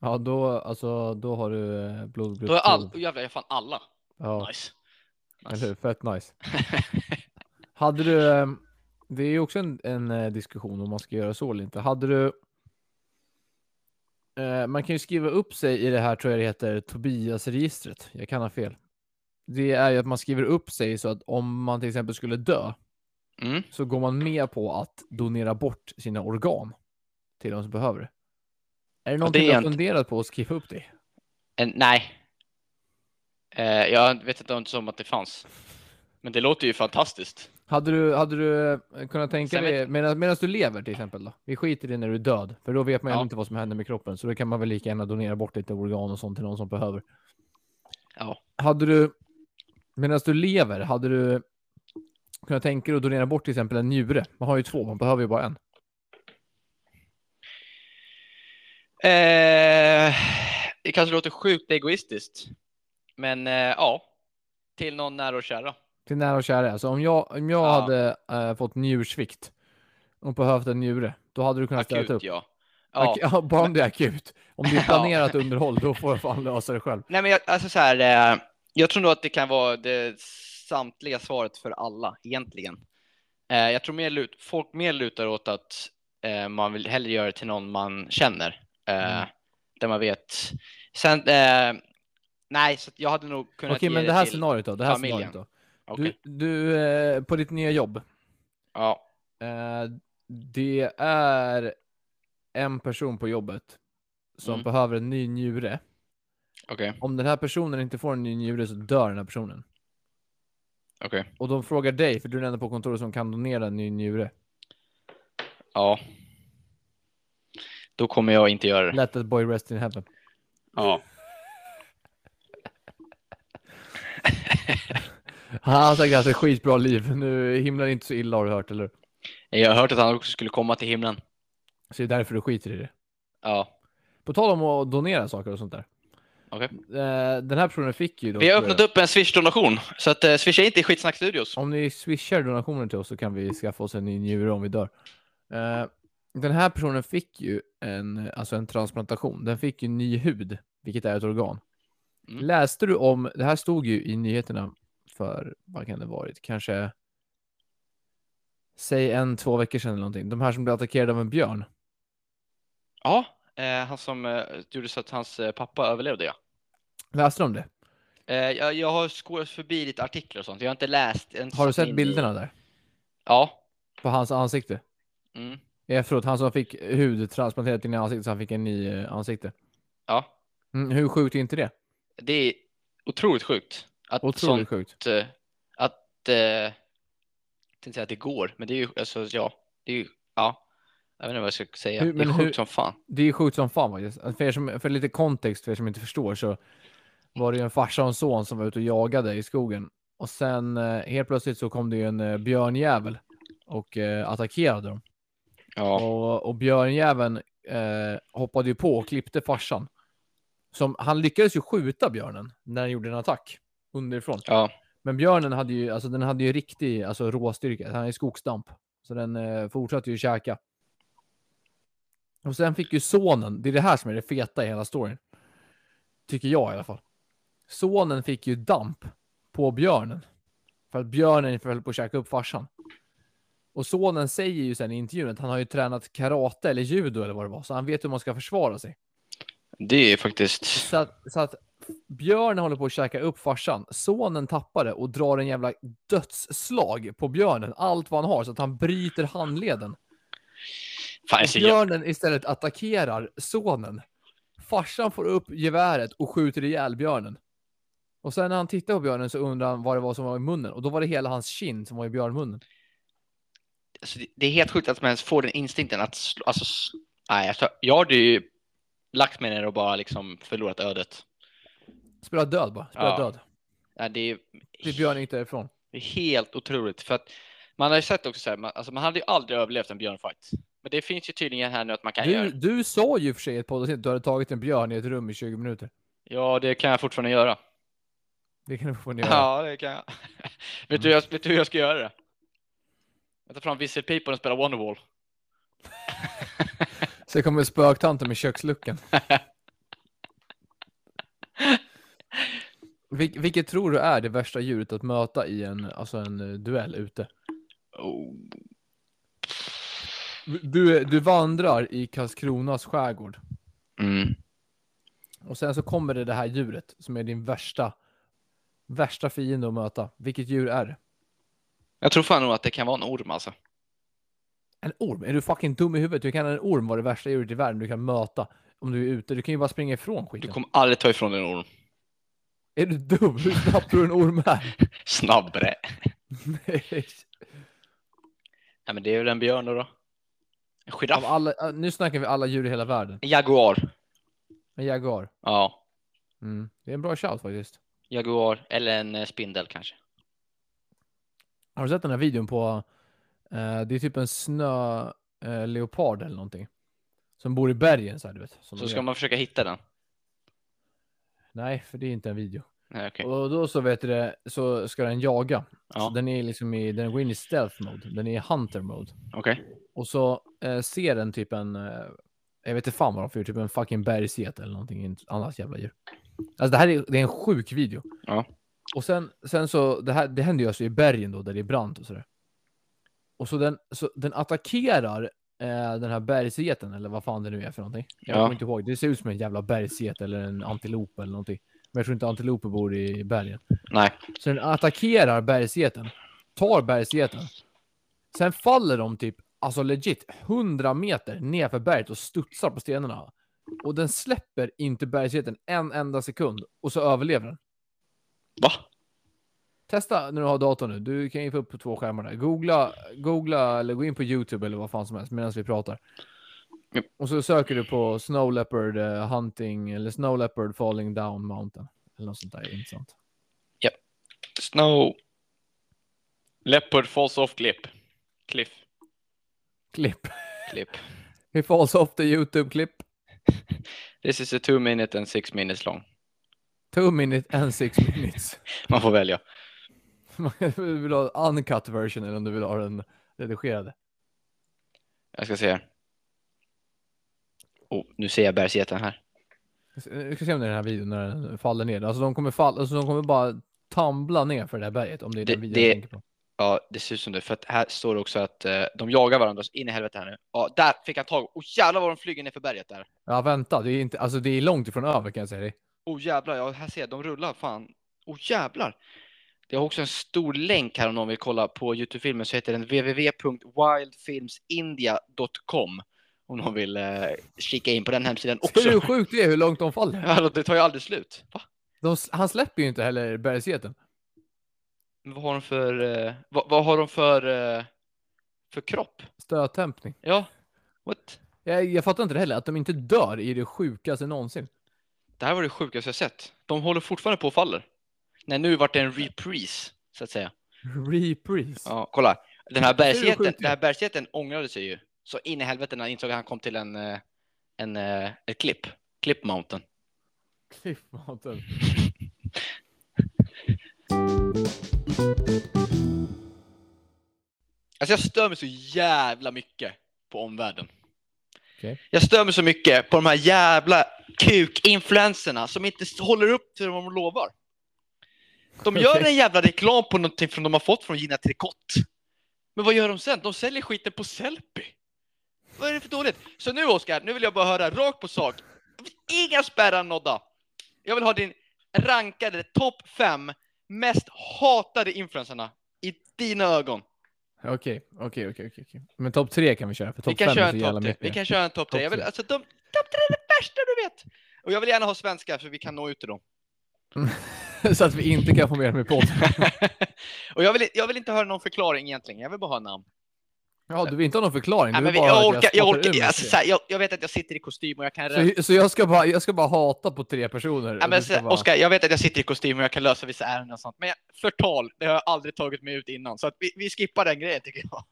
Ja, då, alltså, då har du eh, blodgrupp Då är all... 12. Jävlar, jag har fan alla. Ja. Nice. Eller hur? Fett nice. hade du, ehm, det är ju också en, en eh, diskussion om man ska göra så eller inte. Hade du, eh, man kan ju skriva upp sig i det här tror jag det heter Tobias-registret. Jag kan ha fel. Det är ju att man skriver upp sig så att om man till exempel skulle dö Mm. så går man med på att donera bort sina organ till de som behöver det. Är det någonting du har egent- funderat på att skriva upp det? En, nej. Eh, jag vet inte om som att det fanns. Men det låter ju fantastiskt. Hade du, hade du eh, kunnat tänka Sen dig, medan, medan du lever till exempel då? Vi skiter i när du är död, för då vet man ju Ja. inte vad som händer med kroppen, så då kan man väl lika gärna donera bort lite organ och sånt till någon som behöver. Ja. Hade du, medan du lever, hade du kunnat tänka dig att donera bort till exempel en njure? Man har ju två, man behöver ju bara en. Eh, det kanske låter sjukt egoistiskt. Men eh, ja, till någon nära och kära. Till nära och kära. Så om jag, om jag Ja. hade eh, fått njursvikt och behövt en njure, då hade du kunnat ställa upp. Akut ja. ja. Ak- ja. Bara om det är akut. Om det är Ja. planerat underhåll, då får jag fan lösa det själv. Nej men jag, alltså så här, eh, jag tror nog att det kan vara det samtliga svaret för alla egentligen. Eh, jag tror mer lut, folk mer lutar åt att eh, man vill hellre göra det till någon man känner. Eh, Där Mm. man vet. Sen, eh, nej, så att jag hade nog kunnat Okej, ge men det här till... scenariot då? Det här familjen. scenariot då? Okej, Du, du eh, på ditt nya jobb. ja. Eh, det är en person på jobbet som Mm. behöver en ny njure. Okej, Om den här personen inte får en ny njure så dör den här personen. okej. Och de frågar dig, för du är den enda på kontoret som kan donera en ny njure. Ja. Då kommer jag inte göra det. Let that boy rest in heaven. Ja. Han har säkert haft ett skitbra liv. Nu himlar inte så illa har du hört, eller hur? Jag har hört att han också skulle komma till himlen. Så det är därför du skiter i det. Ja. På tal om att donera saker och sånt där. Okej. Eh, den här personen fick ju då... Vi har öppnat upp en Swish-donation, så att eh, swisha inte i Skitsnack Studios. Om ni swishar donationer till oss så kan vi skaffa oss en ny njure om vi dör. Eh, den här personen fick ju en, alltså en transplantation. Den fick ju ny hud, vilket är ett organ. Mm. Läste du om, det här stod ju i nyheterna för, vad kan det varit, kanske säg en, två veckor sedan eller någonting. De här som blev attackerade av en björn. Ja, eh, han som eh, gjorde så att hans eh, pappa överlevde, ja. Läste du om det? Eh, jag, jag har skådat förbi lite artiklar och sånt. Jag har inte läst. Jag inte Har du satt mig in sett i- bilderna där? Ja. På hans ansikte? Mm. Efteråt, han som fick hud transplanterat in i ansiktet så han fick en ny eh, ansikte. Ja, Mm, hur sjukt är inte det? det är otroligt sjukt att Otroligt sånt, sjukt. eh, att, eh, jag tänkte säga att det går, men det är ju, alltså ja, det är ju, ja, jag vet inte vad jag ska säga. Hur- det är men sjukt hur- som fan. Det är sjukt som fan faktiskt. För, er som, för lite kontext, för er som inte förstår, så var det ju en farsa och en son som var ute och jagade i skogen. Och sen eh, helt plötsligt så kom det ju en eh, björnjävel och eh, attackerade dem. Ja, Och, och björnjäveln eh, hoppade ju på och klippte farsan. Som, han lyckades ju skjuta björnen när han gjorde en attack underifrån. ja, Men björnen hade ju, alltså, den hade ju riktig alltså, råstyrka. Han är ju skogsdamp. Så den eh, fortsatte ju käka. Och sen fick ju sonen, det är det här som är det feta i hela storyn. Tycker jag i alla fall. Sonen fick ju damp på björnen. För att björnen höll på att käka upp farsan. Och sonen säger ju sen i intervjun att han har ju tränat karate eller judo eller vad det var. Så han vet hur man ska försvara sig. det är faktiskt, Så att, så att björnen håller på att käka upp farsan. Sonen tappar det och drar en jävla dödsslag på björnen. Allt vad han har så att han bryter handleden. fan, jag Och ser, jag, björnen istället attackerar sonen. Farsan får upp geväret och skjuter ihjäl björnen. Och sen när han tittar på björnen så undrar han vad det var som var i munnen. Och då var det hela hans kind som var i björnmunnen. alltså, det- det är helt sjukt att man ens får den instinkten att, slå- alltså, s- nej, alltså, jag hade ju lagt mig ner och bara liksom förlorat ödet. Spela död bara. Spela Ja. död. Ja, det är ju Det björn inte ifrån. Det är helt otroligt för att man har ju sett också så här, man, alltså man hade ju aldrig överlevt en björnfight. Men det finns ju tydligen här nu att man kan Du, göra. du sa ju i och för sig i ett poddavsnitt att du hade tagit en björn i ett rum i 20 minuter. Ja, det kan jag fortfarande göra. Det kan du få göra. Ja, det kan jag. vet, du, hur jag vet du hur jag ska göra det? Jag tar fram Visit People och spelar Wonderwall. Sen kommer spöktanten med köksluckan. Vil- vilket tror du är det värsta djuret att möta i en, alltså en eh, duell ute? Oh. Du, du vandrar i Karlskronas skärgård Mm. och sen så kommer det det här djuret som är din värsta, värsta fiende att möta. Vilket djur är det? Jag tror fan nog att det kan vara en orm alltså. En orm? Är du fucking dum i huvudet? Hur kan en orm vara det värsta djuret i världen du kan möta om du är ute? Du kan ju bara springa ifrån Du skiten. kommer aldrig ta ifrån en orm. Är du dum? Hur snabb tror du en orm är? Snabbare. Nej. Nej men det är väl en björn då. då. En Av giraff. alla, äh, nu snackar vi alla djur i hela världen. En jaguar. En jaguar. Ja. Mm. Det är en bra shout faktiskt. Jaguar eller en eh, spindel kanske. Har du sett den här videon på, eh, det är typ en snöleopard eh, leopard eller någonting. Som bor i bergen så här, du vet. Som Så de ska gör. man försöka hitta den. Nej, för det är inte en video. Nej, okej. Och då så vet du det, så ska den jaga. Ja. Så den är liksom i, den går in i stealth mode, den är i hunter mode. Okej. Och så eh, ser den typ en, eh, jag vet inte fan vad de för typ en fucking bergsget eller någonting inte- annat jävla djur. Alltså det här är, det är en sjuk video. Ja. Och sen, sen så, det här det händer ju alltså i bergen då där det är brant och sådär. Och så den, så den attackerar eh, den här bergsgeten eller vad fan det nu är för någonting. Jag Ja. kommer inte ihåg, det ser ut som en jävla bergsget eller en antilop eller någonting. Men jag tror inte antiloper bor i bergen. Nej. Så den attackerar bergsgeten. Tar bergsgeten. Sen faller de typ, alltså legit, 100 meter nerför berget och studsar på stenarna. Och den släpper inte bergsgeten en enda sekund och så överlever den. Va? Testa när du har datorn nu. Du kan ju få upp på två skärmar där. Googla, googla eller gå in på YouTube eller vad fan som helst medan vi pratar. Japp. Och så söker du på Snow Leopard eh, Hunting eller Snow Leopard Falling Down Mountain. Eller något sånt där intressant. Snow. Leopard falls off clip. Cliff. Klipp. Clip. He falls off the YouTube-klipp. This is a two minute and six minutes long. Two minute and six minutes. Man får välja. du vill ha uncut version eller om du vill ha den redigerade. Jag ska se här. Oh, nu ser jag bergsgeten här. Vi ska se om det är den här videon när den faller ner. Alltså de kommer, fall, alltså, de kommer bara tumbla ner för det där berget om det är Det- den videon det- jag tänker på. Ja, det ser ut som det. För att här står det också att eh, de jagar varandra så in i helvete här nu. Ja, där fick han tag. Oh jävlar vad de flyger ner för berget där. Ja vänta, det är, inte, alltså, det är långt ifrån över kan jag säga dig. Oh jävlar, ja här ser jag, de rullar fan. Oh jävlar. Det har också en stor länk här om någon vill kolla på Youtube-filmen så heter den www.wildfilmsindia.com om någon vill eh, kika in på den hemsidan Ser du hur också. sjukt det är hur långt de faller? Ja, det tar ju aldrig slut. Va? De, han släpper ju inte heller bergsgeten. Men vad har de för, eh, vad, vad har de för, eh, för kropp? Stötdämpning. Ja, what? Jag, jag fattar inte det heller, att de inte dör är det sjukaste någonsin. Det här var det sjukaste jag sett. De håller fortfarande på och faller. Nej, nu vart det en reprise, så att säga. Reprise. Ja, kolla. Den här Hur bergsgeten, sjukt det den är. här bergsgeten ångrade sig ju. Så in i helvete när han insåg att han kom till en, eh, en, eh, ett klipp. Klipp mountain. Klippmaten. Alltså jag stör mig så jävla mycket på omvärlden. Okej. Jag stör mig så mycket på de här jävla kukinfluenserna som inte s- håller upp till vad de lovar. De gör Okej. en jävla reklam på någonting som de har fått från Gina Tricot. Men vad gör de sen? De säljer skiten på Sellpy. Vad är det för dåligt? Så nu Oskar, nu vill jag bara höra rakt på sak. Inga spärrar nådda. Jag vill ha din rankade topp fem mest hatade influencerna i dina ögon. Okej, okej, okej, okej. okej. Men topp tre kan vi köra, för Vi topp fem kan, köra är så en jävla topp tre. vi mycket. kan köra en topp tre. Topp Jag vill, tre. alltså, de, topp tre är det värsta du vet. Och jag vill gärna ha svenska så vi kan nå ut till dem. så att vi inte kan få med dem i podden. och jag vill, jag vill inte höra någon förklaring egentligen. Jag vill bara ha namn. Ja, du vill inte ha någon förklaring? Nej, Du men vill vi, bara att jag orkar, jag, spottar ur orkar mig alltså, det. så här, jag, jag vet att jag sitter i kostym och jag kan rä- Så, så jag, ska bara, jag ska bara hata på tre personer? Nej, men, och du ska så- bara... Oskar, jag vet att jag sitter i kostym och jag kan lösa vissa ärenden och sånt. Men jag, förtal, det har jag aldrig tagit mig ut innan. Så att vi, vi skippar den grejen tycker jag.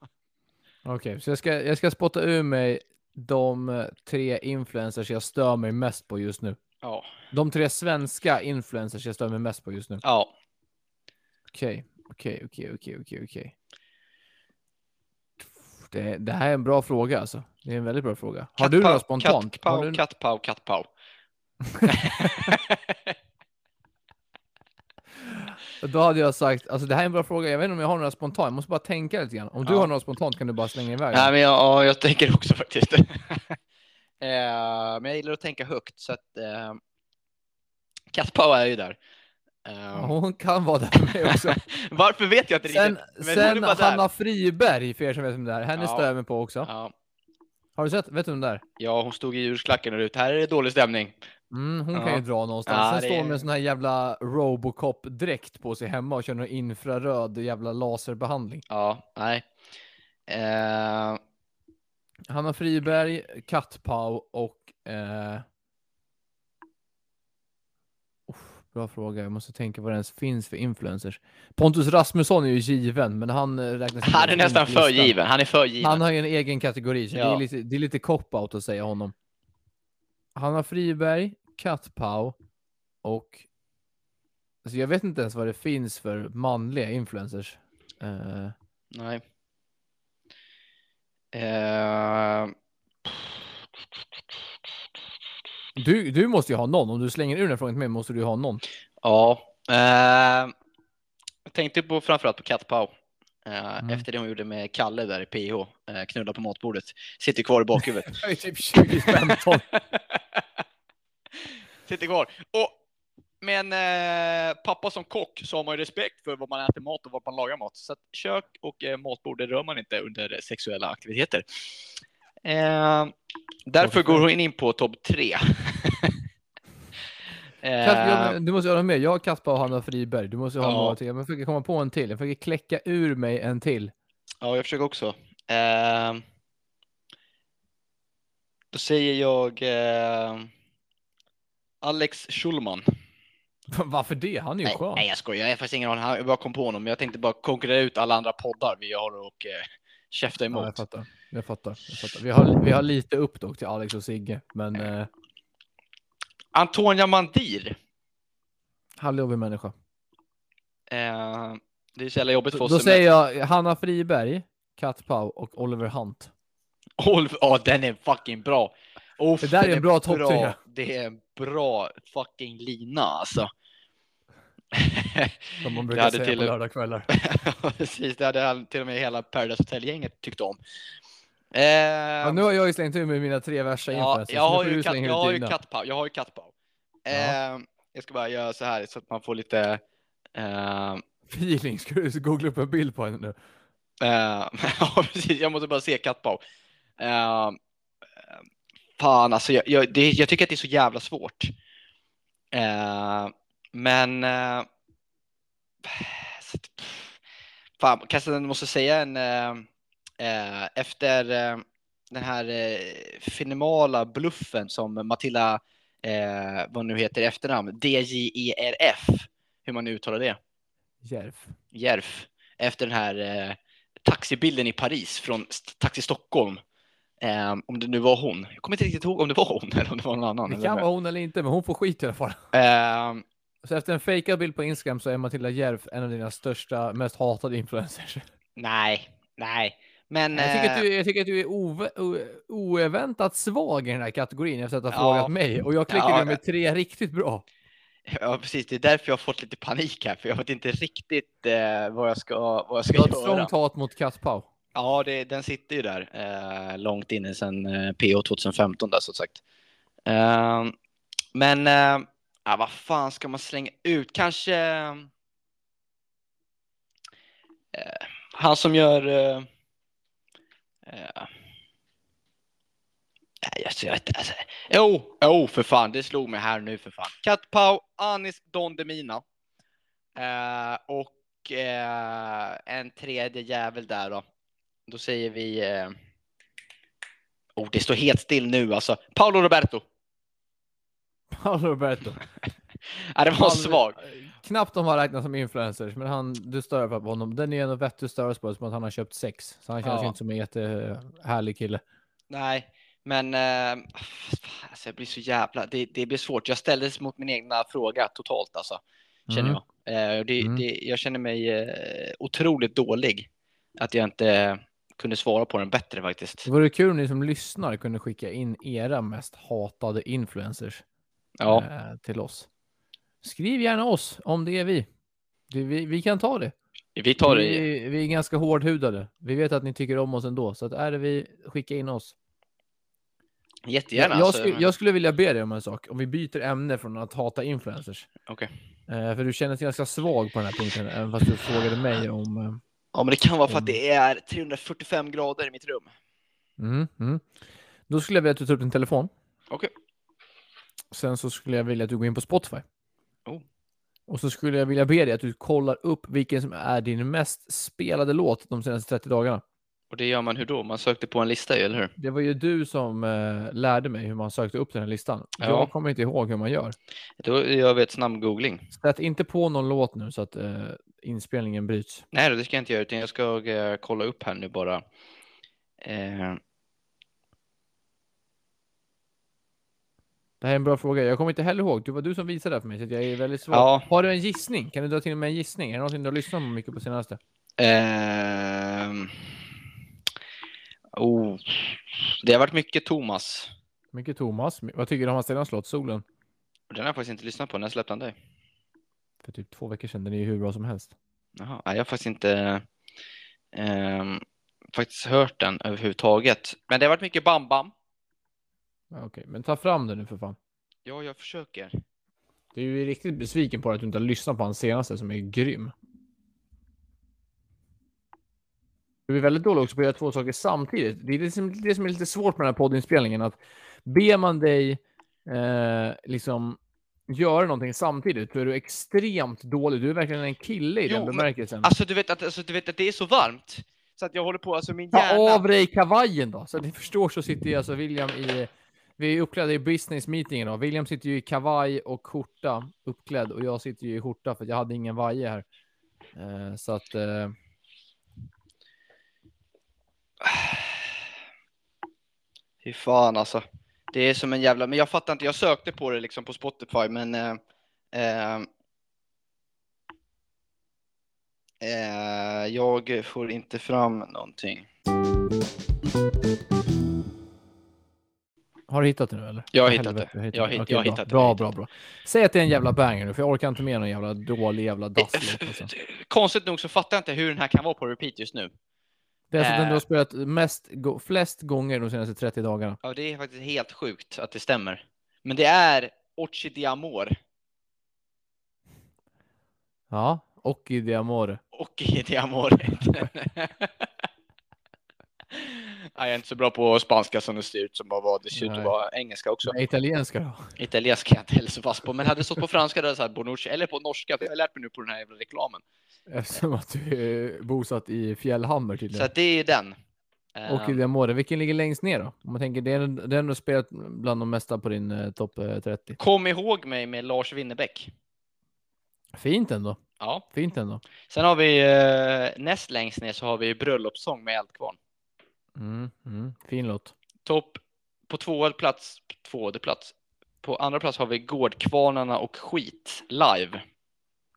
Okej, så jag ska, jag ska spotta ur mig de eh, tre influencers jag stör mig mest på just nu. Ja. De tre svenska influencers jag stör mig mest på just nu. ja. Okej, okej, okej, okej, okej, okej. Det, det här är en bra fråga alltså. Det är en väldigt bra fråga. Har du några spontant? Har Kattpau, du... kattpau, kattpau. Då hade jag sagt, alltså det här är en bra fråga, jag vet inte om jag har några spontant, jag måste bara tänka lite grann. Om du Ja. har några spontant kan du bara slänga iväg. Nej, men jag, ja, jag tänker också faktiskt. eh, men jag gillar att tänka högt så att eh, Kaspar är ju där. Ja, Eh, Hon kan vara där med också. varför vet jag inte Sen, riktigt. men hon är sen bara där. Hanna Friberg, för er som vet vem det är, henne Ja. stör jag mig på också. Ja, Har du sett? Vet du vem det är? ja, hon stod i djursklacken och ut. Här är det dålig stämning. Mm, hon Ja. kan ju dra någonstans. Ja, Sen det står är- hon med en sån här jävla Robocop-dräkt på sig hemma och kör någon infraröd jävla laserbehandling. Ja, nej. Eh, Hanna Friberg, Kattpau och... Eh... Uff, bra fråga, jag måste tänka vad det ens finns för influencers. Pontus Rasmusson är ju given, men han eh, räknas inte han är in nästan på för listan. given. Han är för given. Han har ju en egen kategori, så det Ja. är lite, det är lite cop-out att säga honom. Hanna Friberg, Kattpau och... Alltså jag vet inte ens vad det finns för manliga influencers. Eh, Nej. Eh, du, du måste ju ha någon, om du slänger ur den här frågan till mig måste du ju ha någon. ja. Eh, jag tänkte på framförallt på Kat Pau. Eh, Mm. Efter det hon gjorde med Kalle där i PH. Eh, knulla på matbordet. Sitter kvar i bakhuvudet. Jag är typ 2015. Sitter kvar. Och, men eh, pappa som kock så har man ju respekt för vad man äter mat och vad man lagar mat. Så att kök och eh, matbord det rör man inte under sexuella aktiviteter. Eh, därför går hon in på topp tre. Kasper, eh, jag- du måste göra med. Jag har Kaspar och Hanna Friberg. Du måste ju ha Ja. några till. Jag försöker komma på en till. Jag försöker kläcka ur mig en till. ja, jag försöker också. Eh, då säger jag eh, Alex Schulman. Varför det? Han är ju Nej, skön. nej, jag skojar. Jag har faktiskt ingen aning. Jag bara kom på honom. Jag tänkte bara konkurrera ut alla andra poddar vi har och eh, käfta Ja, jag emot. fattar. Jag fattar. Jag fattar. Vi, har, vi har lite upp dock till Alex och Sigge, men eh, Antonia Mandir. han lever människa. Eh, det är så jävla jobbigt för Då, oss. då som- säger jag Hanna Friberg, Kat Pau och Oliver Hunt. Olv- Ja, den är fucking bra. Oh, Det där är en bra topp tre. Det är en bra fucking lina alltså. Som man Det brukar hade säga till- på lördagskvällar. Precis, det hade all- till och med hela Paradise Hotel-gänget tyckt om. Eh, Ja, nu har jag ju slängt ur mig mina tre värsta Ja, influencers. jag Nu har, får ju du kat, slänga jag ut har ju dina. kattpav. Jag har ju kattpav. Ja. Eh, jag ska bara göra så här så att man får lite... Eh, Feeling, ska du googla upp en bild på henne nu? eh, ja, precis. Jag måste bara se kattpav. Eh, eh, fan, alltså. Jag, jag, det, jag tycker att det är så jävla svårt. Eh, men... Eh, så att- pff. fan, kanske jag måste säga en... Eh, eh, efter eh, den här eh, finemala bluffen som Matilda, eh, vad nu heter i efternamn, DJERF, hur man nu uttalar det, Järv. Jerf, efter den här eh, taxibilden i Paris från St- Taxi Stockholm. Eh, om det nu var hon. Jag kommer inte riktigt ihåg om det var hon eller om det var någon annan. Det eller kan vem. vara hon eller inte, men hon får skit i alla fall. Eh, Så efter en fejkad bild på Instagram så är Matilda Järv en av dina största, mest hatade influencers. nej, nej. Men, Jag tycker, att eh, du, jag tycker att du är ove- o- oväntat svag i den här kategorin efter att ha Ja. frågat mig. Och jag klickade Ja. ja. med tre riktigt bra. eh, ja, precis, det är därför jag har fått lite panik här, för jag vet inte riktigt eh, vad jag ska, vad jag ska Du har ett göra. strongt hat mot Kattpau. Ja, det, den sitter ju där eh, långt inne sedan eh, PO 2015 där så sagt. Eh, men eh, ja, vad fan ska man slänga ut? Kanske eh, eh, han som gör... Eh, eh, nej, alltså, jag vet inte. Alltså, jo, jo, för fan, det slog mig här nu för fan. Kat Pau, Anis Don Demina eh, och eh, en tredje jävel där då. Då säger vi... Eh... Oh, det står helt still nu alltså. Paolo Roberto. Paolo Roberto. Ja, Äh, det var Paolo- svag. Knappt de har räknat som influencers, men han, du stör på honom. Den är en av vettus större på som att han har köpt sex. Så han känns Ja. ju inte som en jättehärlig kille. Nej, men eh, fan, alltså, jag blir så jävla... Det, det blir svårt. Jag ställdes mot min egna fråga totalt alltså, känner Mm. jag. Eh, och det, Mm. det, jag känner mig eh, otroligt dålig att jag inte kunde svara på den bättre faktiskt. Det vore kul om ni som lyssnar kunde skicka in era mest hatade influencers Ja, eh, till oss. Skriv gärna oss om det är vi. Det, vi, vi kan ta det. Vi tar det i... vi, vi är ganska hårdhudade. Vi vet att ni tycker om oss ändå, så att är det vi, skicka in oss. jättegärna. jag, alltså, sku, men- jag skulle vilja be dig om en sak, om vi byter ämne från att hata influencers. Okej. Eh, för du känner dig ganska svag på den här punkten, även fast du frågade mig om... eh, Ja, men det kan vara för att det är 345 grader i mitt rum. Mm, mm. Då skulle jag vilja att du tar upp din telefon. Okej. Sen så skulle jag vilja att du går in på Spotify. Oh. Och så skulle jag vilja be dig att du kollar upp vilken som är din mest spelade låt de senaste 30 dagarna. Och det gör man hur då? Man sökte på en lista ju, eller hur? Det var ju du som eh, lärde mig hur man sökte upp den här listan. Ja. Jag kommer inte ihåg hur man gör. Då gör vi ett snabb googling. Sätt inte på någon låt nu så att eh, inspelningen bryts. Nej, det ska jag inte göra, utan jag ska eh, kolla upp här nu bara. Eh, Det här är en bra fråga. Jag kommer inte heller ihåg. Det var du som visade det här för mig, så att jag är väldigt svag. ja, Har du en gissning? Kan du dra till med en gissning? Är det någonting du har lyssnat på mycket på senaste? ehm, oh, det har varit mycket Thomas. Mycket Thomas. My- Vad tycker du om hans senaste låt, Solen? Den har jag faktiskt inte lyssnat på. När släppte han det? För typ två veckor sedan. Den är ju hur bra som helst. Jaha, nej, jag har faktiskt inte ehm, faktiskt hört den överhuvudtaget. Men det har varit mycket Bam Bam. Ja, Okej, men ta fram den nu för fan. Ja, jag försöker. Du är ju riktigt besviken på att du inte har lyssnat på hans senaste som är grym. Du är väldigt dålig också på att göra två saker samtidigt. Det är det som, det som är lite svårt med den här poddinspelningen. Att ber man dig eh, liksom göra någonting samtidigt, då är du extremt dålig. Du är verkligen en kille i Jo, den men- bemärkelsen. Alltså, du vet att, alltså, du vet att det är så varmt så att jag håller på, alltså min hjärna. Ta av dig kavajen då! Så att ni förstår så sitter ju alltså William i... Vi är uppklädda i business meeting idag. William sitter ju i kavaj och skjorta uppklädd och jag sitter ju i skjorta för att jag hade ingen vaje här. Eh, så att... Eh, Fy fan alltså. Det är som en jävla, men jag fattar inte, jag sökte på det liksom på Spotify men eh, eh, eh, jag får inte fram någonting. har du hittat det nu eller? Jag har För hittat helvete, det. du har Jag har hit- Okej, jag har bra. hittat det. Jag Bra, har bra, hittat bra. Säg att det är en jävla banger nu för jag orkar inte med någon jävla dålig jävla dasslåt. Alltså. Konstigt nog så fattar jag inte hur den här kan vara på repeat just nu. Det är alltså den du Eh. har spelat mest, go- flest gånger de senaste 30 dagarna. Ja, det är faktiskt helt sjukt att det stämmer. Men det är Orchidé Amor Ja, och i Diamore. och Idé Amor. Nej, Jag är inte så bra på spanska som det ser ut som bara var. Det ser ut att Nej. vara engelska också. Italienska då? Italienska är jag inte heller så fast på, men hade det stått på franska då hade jag sagt Bonucci, eller på norska, för jag har lärt mig nu på den här jävla reklamen. Eftersom att du är bosatt i Fjällhammer tydligen. Så att det är den. Eh, Och Ilja Måre, vilken ligger längst ner då? Om man tänker, det är den det är ändå spelat bland de mesta på din eh, topp eh, 30. Kom ihåg mig med Lars Winnerbäck. Fint ändå. Ja. Fint ändå. Sen har vi eh, näst längst ner så har vi Bröllopssång med Eldkvarn. Mm, mm, fin låt. Topp på tvåa plats, tvåde plats. På andra plats har vi Gårdkvarnarna och Skit live.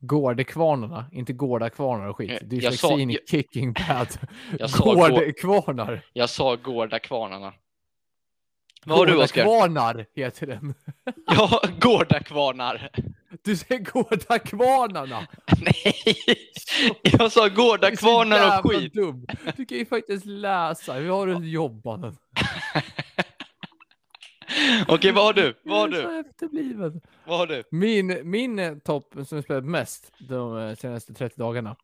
Gårdekvarnarna, inte gårdakvarnar och skit. Eh, jag sa- Dyslexin jag- är kicking bad. Jag sa, gå, Gårdekvarnar. jag sa Gårdakvarnarna. Vad har du Oskar? Gårdakvarnar heter den. Ja, Gårdakvarnar. Du säger gårdakvarnarna. Nej, jag sa Du är så Gårdakvarnar och jävla Skit. Dum. Du kan ju faktiskt läsa. Hur har du jobbat? den? Okej, vad har du? Vad har Jag är du? så efterbliven. Vad har du? Min, min eh, topp som jag spelat mest de eh, senaste 30 dagarna.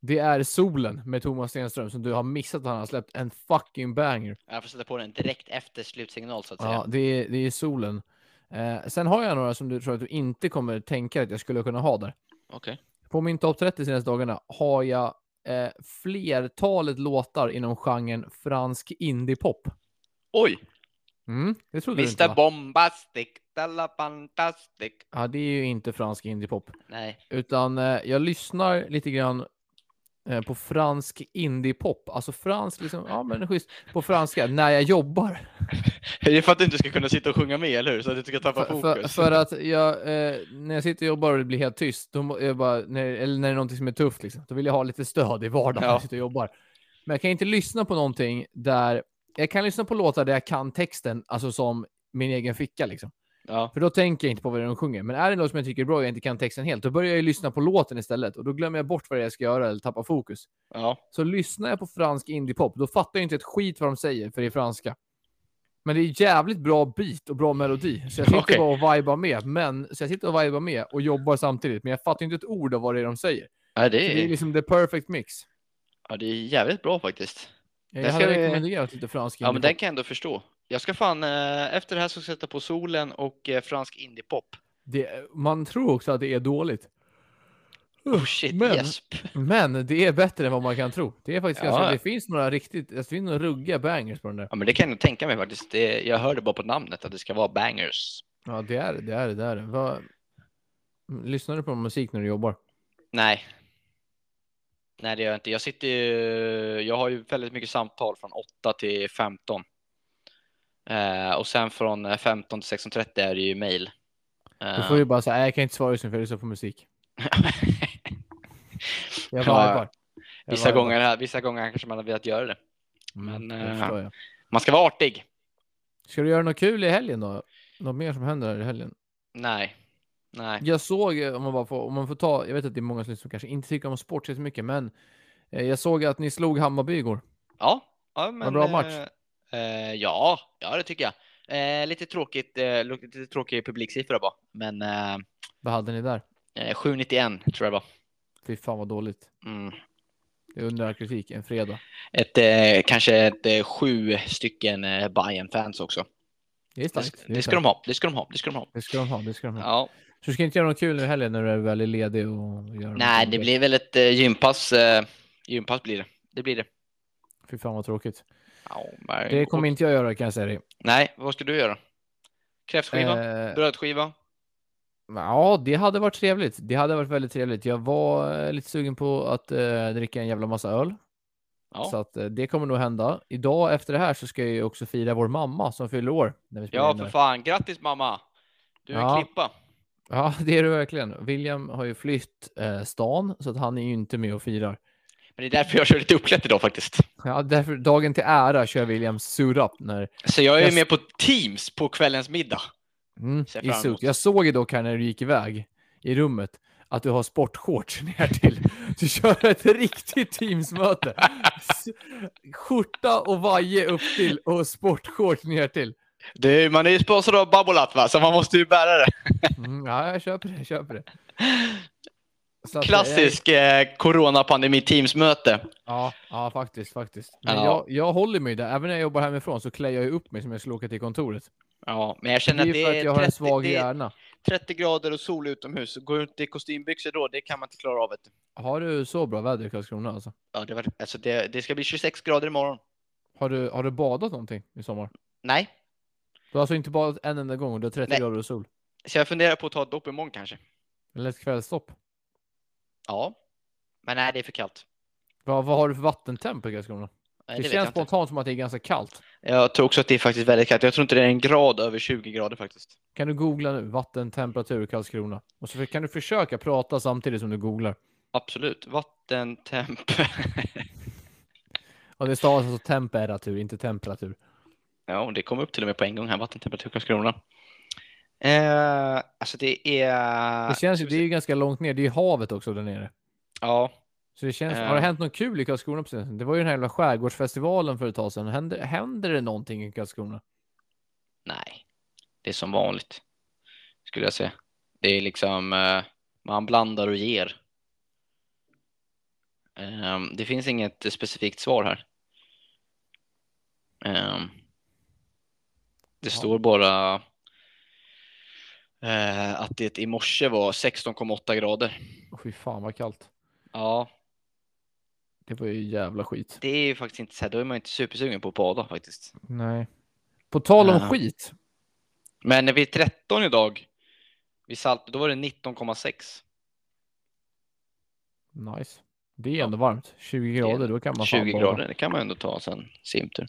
Det är Solen med Thomas Stenström som du har missat att han har släppt en fucking banger. Jag får sätta på den direkt efter slutsignal så att säga. Ja, det är, det är Solen. Eh, sen har jag några som du tror att du inte kommer tänka att jag skulle kunna ha där. Okej. På min topp 30 senaste dagarna har jag eh, flertalet låtar inom genren fransk indiepop. Oj! Mm, det trodde du inte Mr va? Bombastic, Della Fantastic. Ja, det är ju inte fransk indiepop. Nej. Utan eh, jag lyssnar lite grann eh, på fransk indiepop. Alltså fransk, liksom, ja men schysst. På franska, när jag jobbar. Det är för att du inte ska kunna sitta och sjunga med, eller hur? Så att du inte ska tappa För, för, fokus. för att jag, eh, när jag sitter och jobbar och det blir helt tyst, då må, jag bara, när, eller när det är någonting som är tufft, liksom, då vill jag ha lite stöd i vardagen när Ja. jag sitter och jobbar. Men jag kan inte lyssna på någonting där, jag kan lyssna på låtar där jag kan texten, alltså som min egen ficka liksom. Ja. För då tänker jag inte på vad de sjunger. Men är det något som jag tycker är bra och jag inte kan texten helt, då börjar jag ju lyssna på låten istället. Och då glömmer jag bort vad det är jag ska göra eller tappar fokus. Ja. Så lyssnar jag på fransk indiepop, då fattar jag inte ett skit vad de säger, för det är franska. Men det är jävligt bra beat och bra melodi, så jag sitter Okej. bara och vibar med. Men, så jag sitter och vibar med och jobbar samtidigt, men jag fattar inte ett ord av vad det är de säger. Nej, Så det det är är, liksom the perfect mix. ja, det är jävligt bra faktiskt. Jag Det hade ska vi- rekommenderat lite fransk Ja, men indiepop. den kan jag ändå förstå. Jag ska fan, eh, efter det här ska jag sätta på solen och eh, fransk indiepop. det, Man tror också att det är dåligt. Oh shit, Men- gäsp. Men det är bättre än vad man kan tro. Det är faktiskt Ja. ganska, det finns några riktigt, det finns några ruggiga bangers på den där. Ja, men det kan jag nog tänka mig faktiskt. Det, jag hörde bara på namnet att det ska vara bangers. Ja, det är det, det är det, det är det. Vad... Lyssnar du på musik när du jobbar? Nej. Nej, det gör jag inte. Jag sitter ju, jag har ju väldigt mycket samtal från 8 till 15. Eh, och sen från eh, 15 till 16.30 är det ju mejl. Då Eh, får du bara säga, "Nej, jag kan inte svara just nu för jag lyssnar på musik. Jag Ja, vibar. Jag vissa, vibar. gånger, vissa gånger kanske man hade velat göra det. Mm, men, det eh, förstår jag. Man ska vara artig. Ska du göra något kul i helgen då? Något mer som händer här i helgen? Nej. Nej. Jag såg, eh, om man bara får, om man får ta, jag vet att det är många som kanske inte tycker om sport så mycket, men eh, jag såg att ni slog Hammarby igår. Ja, ja men. bra match. eh, eh, ja, ja, det tycker jag. Eh, lite tråkigt, eh, lite tråkig publiksiffra bara, men eh, Vad hade ni där? eh, 791 tror jag det var. Fy fan vad dåligt. Mm. Det är under all kritik, en fredag. Ett, eh, kanske ett eh, sju stycken eh, Bayern fans också. Det är Det, starkt. det är ska starkt. de ha, det ska de ha, det ska de ha. Det ska de ha, det ska de ha. Ja, Så du ska inte göra något kul nu heller när du är väl är ledig och gör nej, något det kul? blir väl ett eh, gympass. Eh, gympass blir det. Det blir det. Fy fan vad tråkigt. Ja, men- Det kommer inte jag göra kan jag säga dig. Nej, vad ska du göra? Kräftskiva? Eh, Brödskiva? ja, det hade varit trevligt. Det hade varit väldigt trevligt. Jag var eh, lite sugen på att eh, dricka en jävla massa öl. Ja, Så att eh, det kommer nog hända. Idag efter det här så ska jag ju också fira vår mamma som fyller år. När vi spelar ja in för där. fan. Grattis mamma! Du är Ja. klippa. ja, det är det verkligen. William har ju flytt eh, stan så att han är ju inte med och firar. Men det är därför jag kör lite uppklätt idag faktiskt. Ja, därför dagen till ära kör William suit up när Så jag är Jag ju med på Teams på kvällens middag. Mm, Ser i fram suit. emot. Jag såg ju dock här när du gick iväg i rummet att du har sportshorts ner till. Du kör ett riktigt teamsmöte. S- Skjorta och vaje upp till och sportshorts ner till. Du, man är ju sponsrad av Babolat va, så man måste ju bära det. Mm, ja, jag köper det, jag köper det. Så att, eh, Klassisk eh, coronapandemi-teamsmöte. Ja, ja, faktiskt, faktiskt. Men Ja. jag, jag håller mig där. Även när jag jobbar hemifrån så klär jag ju upp mig som jag skulle åka till kontoret. Ja, men jag Det är känner ju att det för att jag är, har en 30, svag det är hjärna. 30 grader och sol utomhus. Gå ut i kostymbyxor då, det kan man inte klara av. Vet du. Har du så bra väder i Karlskrona alltså? Ja, det, var, alltså det, det ska bli 26 grader imorgon. Har du, har du badat någonting i sommar? Nej, Du har alltså inte badat en enda gång och det är 30 Nej. grader och sol? så jag funderar på att ta ett dopp imorgon kanske. Eller ett kvällsstopp? Ja, men nej, det är för kallt. Vad, vad har du för vattentemp i Karlskrona? Nej, Det, det vet jag, känns inte. spontant som att det är ganska kallt. jag tror också att det är faktiskt väldigt kallt. Jag tror inte det är en grad över 20 grader faktiskt. Kan du googla nu? Vattentemperatur i Karlskrona. Och så kan du försöka prata samtidigt som du googlar. Absolut. Vattentemp. Och det stavas alltså temperatur, inte temperatur. Ja, och det kom upp till och med på en gång här, vattentemperatur i Karlskrona. Eh, alltså det är... Det känns ju, det är ju ganska långt ner. Det är ju havet också där nere. Ja, Så det känns, Eh. har det hänt något kul i Karlskrona på senare? Det var ju den här jävla skärgårdsfestivalen för ett tag sedan. Händer, händer det någonting i Karlskrona? nej. Det är som vanligt, skulle jag säga. Det är liksom, eh, man blandar och ger. Ehm, det finns inget specifikt svar här. Ehm, det står bara eh, att det i morse var 16,8 grader. Åh, Fy fan vad kallt. Ja, Det var ju jävla skit. Det är ju faktiskt inte så här, då är man inte supersugen på att bada faktiskt. Nej. På tal om Ja. skit. Men vid 13 idag, vid Salt, då var det 19,6. Nice. Det är ändå varmt. 20 är grader, då kan man fan 20 bada. grader, det kan man ändå ta sen simtur.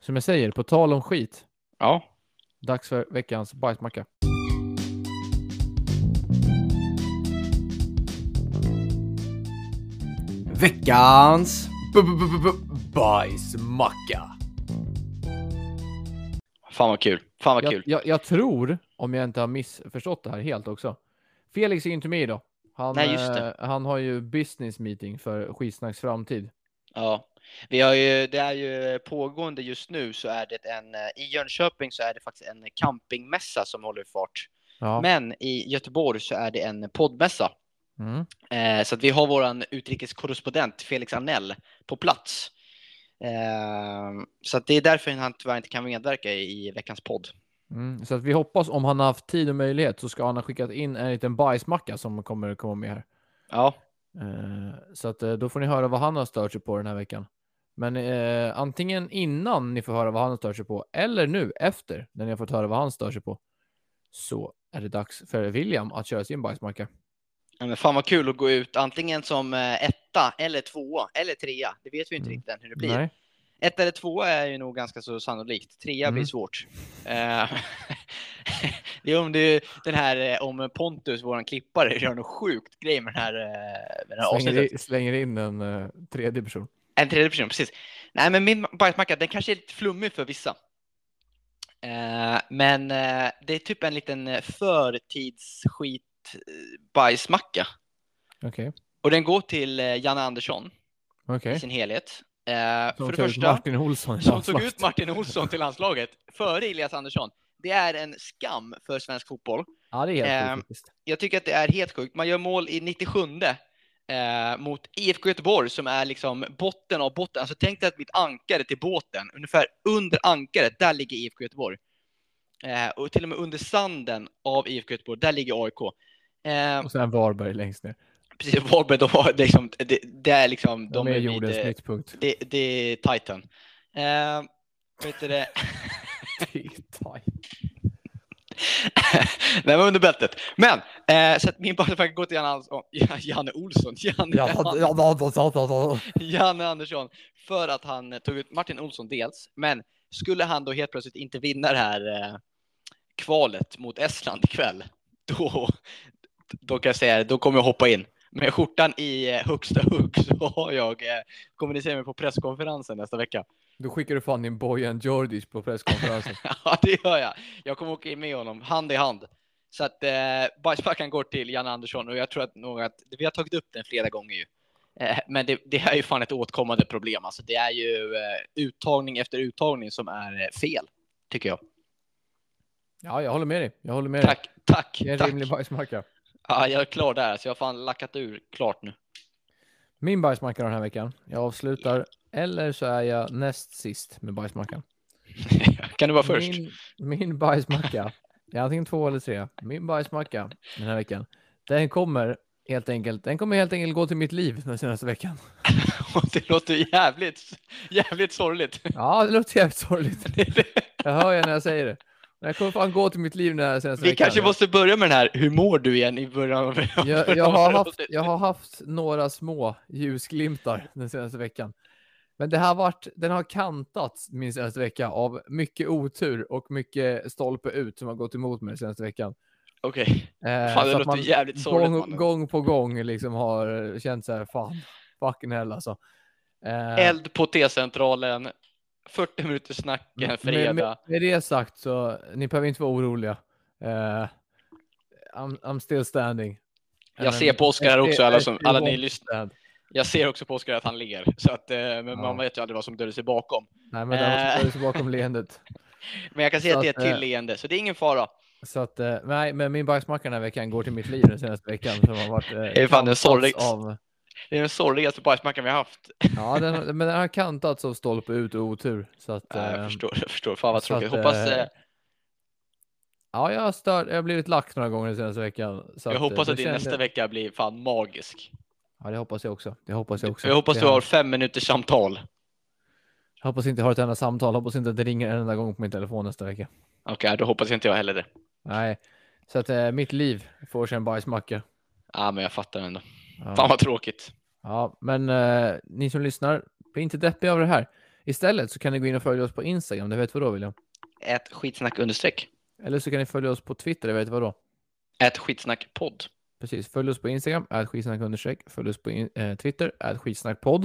Som jag säger, på tal om skit. Ja, Dags för veckans bajsmacka. Veckans b- b- b- b- bajsmacka. fan vad kul. Fan vad Jag, kul. jag, jag tror, om jag inte har missförstått det här helt också, Felix är ju inte med idag. Han, Nej, just det. eh, han har ju business meeting för Skitsnacks framtid. Ja. Vi har ju, det är ju pågående just nu så är det en, eh, i Jönköping så är det faktiskt en campingmässa som håller fart. Ja. Men i Göteborg så är det en poddmässa. Mm. Eh, så att vi har våran utrikeskorrespondent Felix Arnell på plats. Eh, så att det är därför han tyvärr inte kan medverka i, i veckans podd. Mm. Så att vi hoppas om han har haft tid och möjlighet så ska han ha skickat in en liten bajsmacka som kommer komma med här. Ja, Eh, Så att eh, då får ni höra vad han har stört sig på den här veckan. Men eh, antingen innan ni får höra vad han har stört sig på eller nu efter när ni har fått höra vad han stör sig på så är det dags för William att köra sin bajsmacka. Ja, men fan vad kul att gå ut antingen som eh, etta eller tvåa eller trea. Det vet vi inte Mm. riktigt än hur det blir. Nej. Ett eller tvåa är ju nog ganska så sannolikt. Trea blir Mm. svårt. Eh, det är om det, den här eh, om Pontus, våran klippare, gör någon sjukt grej med den här, eh, med den här Slänger, avsnittet. i, slänger in en eh, tredje person. En tredje person, precis. Nej, men min bajsmacka, den kanske är lite flummig för vissa. Eh, men eh, det är typ en liten eh, förtidsskit eh, bajsmacka. Okej. Och den går till eh, Janne Andersson Okej. i sin helhet. Eh, Som för det tog ut första, Martin Olsson i som tog landslaget. ut Martin Olsson till landslaget före Elias Andersson. Det är en skam för svensk fotboll. Ja, det är helt Ehm, sjukt faktiskt. Jag tycker att det är helt sjukt. Man gör mål i 97 eh, mot IFK Göteborg som är liksom botten av botten. Alltså tänk dig att mitt ankare till båten, ungefär under ankaret, där ligger IFK Göteborg. Eh, och till och med under sanden av IFK Göteborg, där ligger AIK. Eh, Och sen Varberg längst ner. precis, Varberg, de har liksom, det, det är liksom, De, är vid, jordens eh, mittpunkt. det, det är Titan. Eh, vet du det? Det är tajt. Nej, men under bältet. Men, eh, så att min ballfacka går till Janne, Andersson, Janne Olsson, Janne, Janne Andersson, för att han eh, tog ut Martin Olsson dels, men skulle han då helt plötsligt inte vinna det här eh, kvalet mot Estland ikväll, då, då kan jag säga det, då kommer jag hoppa in. Med skjortan i eh, högsta hugg så har jag, eh, kommer ni se mig på presskonferensen nästa vecka. Då skickar du fan in Bojan Djordjic på presskonferensen. Ja, det gör jag. Jag kommer åka in med honom hand i hand. Så att eh, bajsmackan går till Janne Andersson och jag tror att, nog att vi har tagit upp den flera gånger ju. Eh, men det, det här är ju fan ett återkommande problem. Alltså, det är ju eh, uttagning efter uttagning som är eh, fel, tycker jag. Ja, jag håller med dig. Jag håller med dig. Tack, tack, Eh, Det är en tack. rimlig bajsmacka. Ja, jag är klar där, så jag har fan lackat ur klart nu. Min bajsmacka den här veckan. Jag avslutar, eller så är jag näst sist med bajsmackan. kan du vara först? Min, min bajsmacka. Det är antingen två eller tre. Min bajsmacka den här veckan. Den kommer helt enkelt. Den kommer helt enkelt gå till mitt liv den senaste veckan. det låter jävligt, jävligt sorgligt. Ja, det låter jävligt sorgligt. Jag hör ju när jag säger det. Den kommer fan gå till mitt liv den här senaste Vi veckan. kanske måste börja med den här, hur mår du igen i början av jag, jag, har haft, jag har haft några små ljusglimtar den senaste veckan. Men det här varit, den har kantats min senaste vecka av mycket otur och mycket stolpe ut som har gått emot mig den senaste veckan. Okej. Eh, Fan, så det att låter man jävligt sorgligt. gång, mannen. gång på gång liksom har känt så här, fan, fucking hell alltså. Eh, Eld på T-centralen, 40 minuters snack en Med- fredag. Med, med det sagt så, ni behöver inte vara oroliga. Eh, I'm, I'm still standing. Eh, E Jag ser på Oscar här I också, still- alla I som- still alla ni won't lyssnar. stand. Jag ser också på Oskar att han ler, så att, eh, men man Ja. vet ju aldrig vad som döljer sig bakom. Nej, men det Eh. var också bakom leendet. Men jag kan säga Så att det är att, ett till eh, leende, så det är ingen fara. Så att, eh, nej, men min bajsmacka den här veckan går till mitt liv den senaste veckan. Som har varit, eh, Det är fan en sorglig- kantats Av, Det är den sorgligaste bajsmackan vi har haft. ja, den, men den har kantats av stolpe ut och otur. Så att, Ja, jag eh, förstår, jag förstår. Fan vad så att, tråkigt. Hoppas, eh, eh, Ja, jag har, stört, jag har blivit lack några gånger den senaste veckan. Så jag eh, hoppas då att din kände- nästa vecka blir fan magisk. Ja, det hoppas jag också. Det hoppas jag också. Jag hoppas Det du har- har fem minuters samtal. Jag hoppas inte jag har ett enda samtal. Hoppas inte att det ringer en enda gång på min telefon nästa vecka. Okej, då hoppas inte jag heller det. Nej, så att eh, mitt liv får sig en bajsmacka. Ja, Ah, men jag fattar ändå. Fan Ja. vad tråkigt. ja, men eh, ni som lyssnar, bli inte deppiga av det här. Istället så kan ni gå in och följa oss på Instagram. Det vet vad då, William. Ett skitsnack understreck. Eller så kan ni följa oss på Twitter. Det vet vad då. Ett skitsnack podd. Precis, följ oss på Instagram, skitsnack Följ oss på in, eh, Twitter, skitsnackpodd.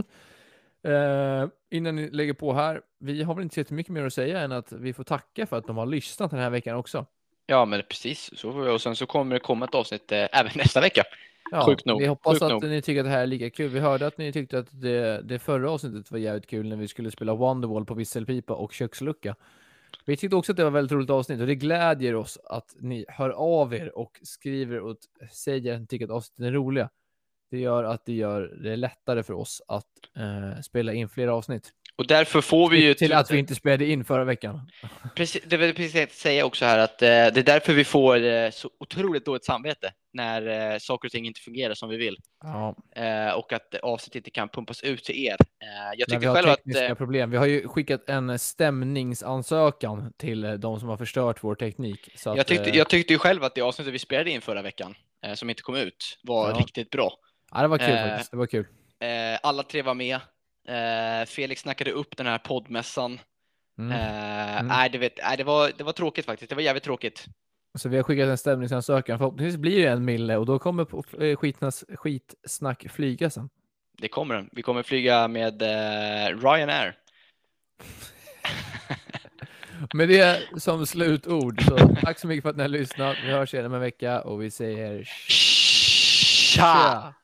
Eh, innan ni lägger på här, vi har väl inte så mycket mer att säga än att vi får tacka för att de har lyssnat den här veckan också. Ja, men precis. Så får vi, och sen så kommer det komma ett avsnitt eh, även nästa vecka. Ja, Sjukt nog, Vi hoppas sjukt att nog. ni tycker att det här är lika kul. Vi hörde att ni tyckte att det, det förra avsnittet var jävligt kul när vi skulle spela Wonderwall på visselpipa och kökslucka. Vi tyckte också att det var ett väldigt roligt avsnitt och det glädjer oss att ni hör av er och skriver och t- säger att ni tycker att avsnitten är roliga. Det gör att det gör det lättare för oss att eh, spela in fler avsnitt. Och därför får vi ju... typ- Till att vi inte spelade in förra veckan. Precis, det vill precis säga också här att eh, det är därför vi får eh, så otroligt dåligt samvete när eh, saker och ting inte fungerar som vi vill. Ja, Eh, och att eh, avsnitt inte kan pumpas ut till er. Eh, jag när vi tycker har själv att... tekniska Eh, problem. Vi har ju skickat en stämningsansökan till eh, de som har förstört vår teknik. Så att, jag, tyckte, eh, jag tyckte ju själv att det avsnittet vi spelade in förra veckan, eh, som inte kom ut, var Ja. riktigt bra. Ja, det var kul Eh, faktiskt. Det var kul. Eh, alla tre var med. Eh, Felix snackade upp den här poddmässan. Mm. Eh, Mm. nej, du vet, nej, det, var, det var tråkigt faktiskt. Det var jävligt tråkigt. Så vi har skickat en stämningsansökan. Förhoppningsvis blir det en mille och då kommer po- eh, skitnas, skitsnack flyga sen. Det kommer den. Vi kommer flyga med eh, Ryanair. Med det som slutord, så tack så mycket för att ni har lyssnat. Vi hörs igen om en vecka och vi säger Tja! tja!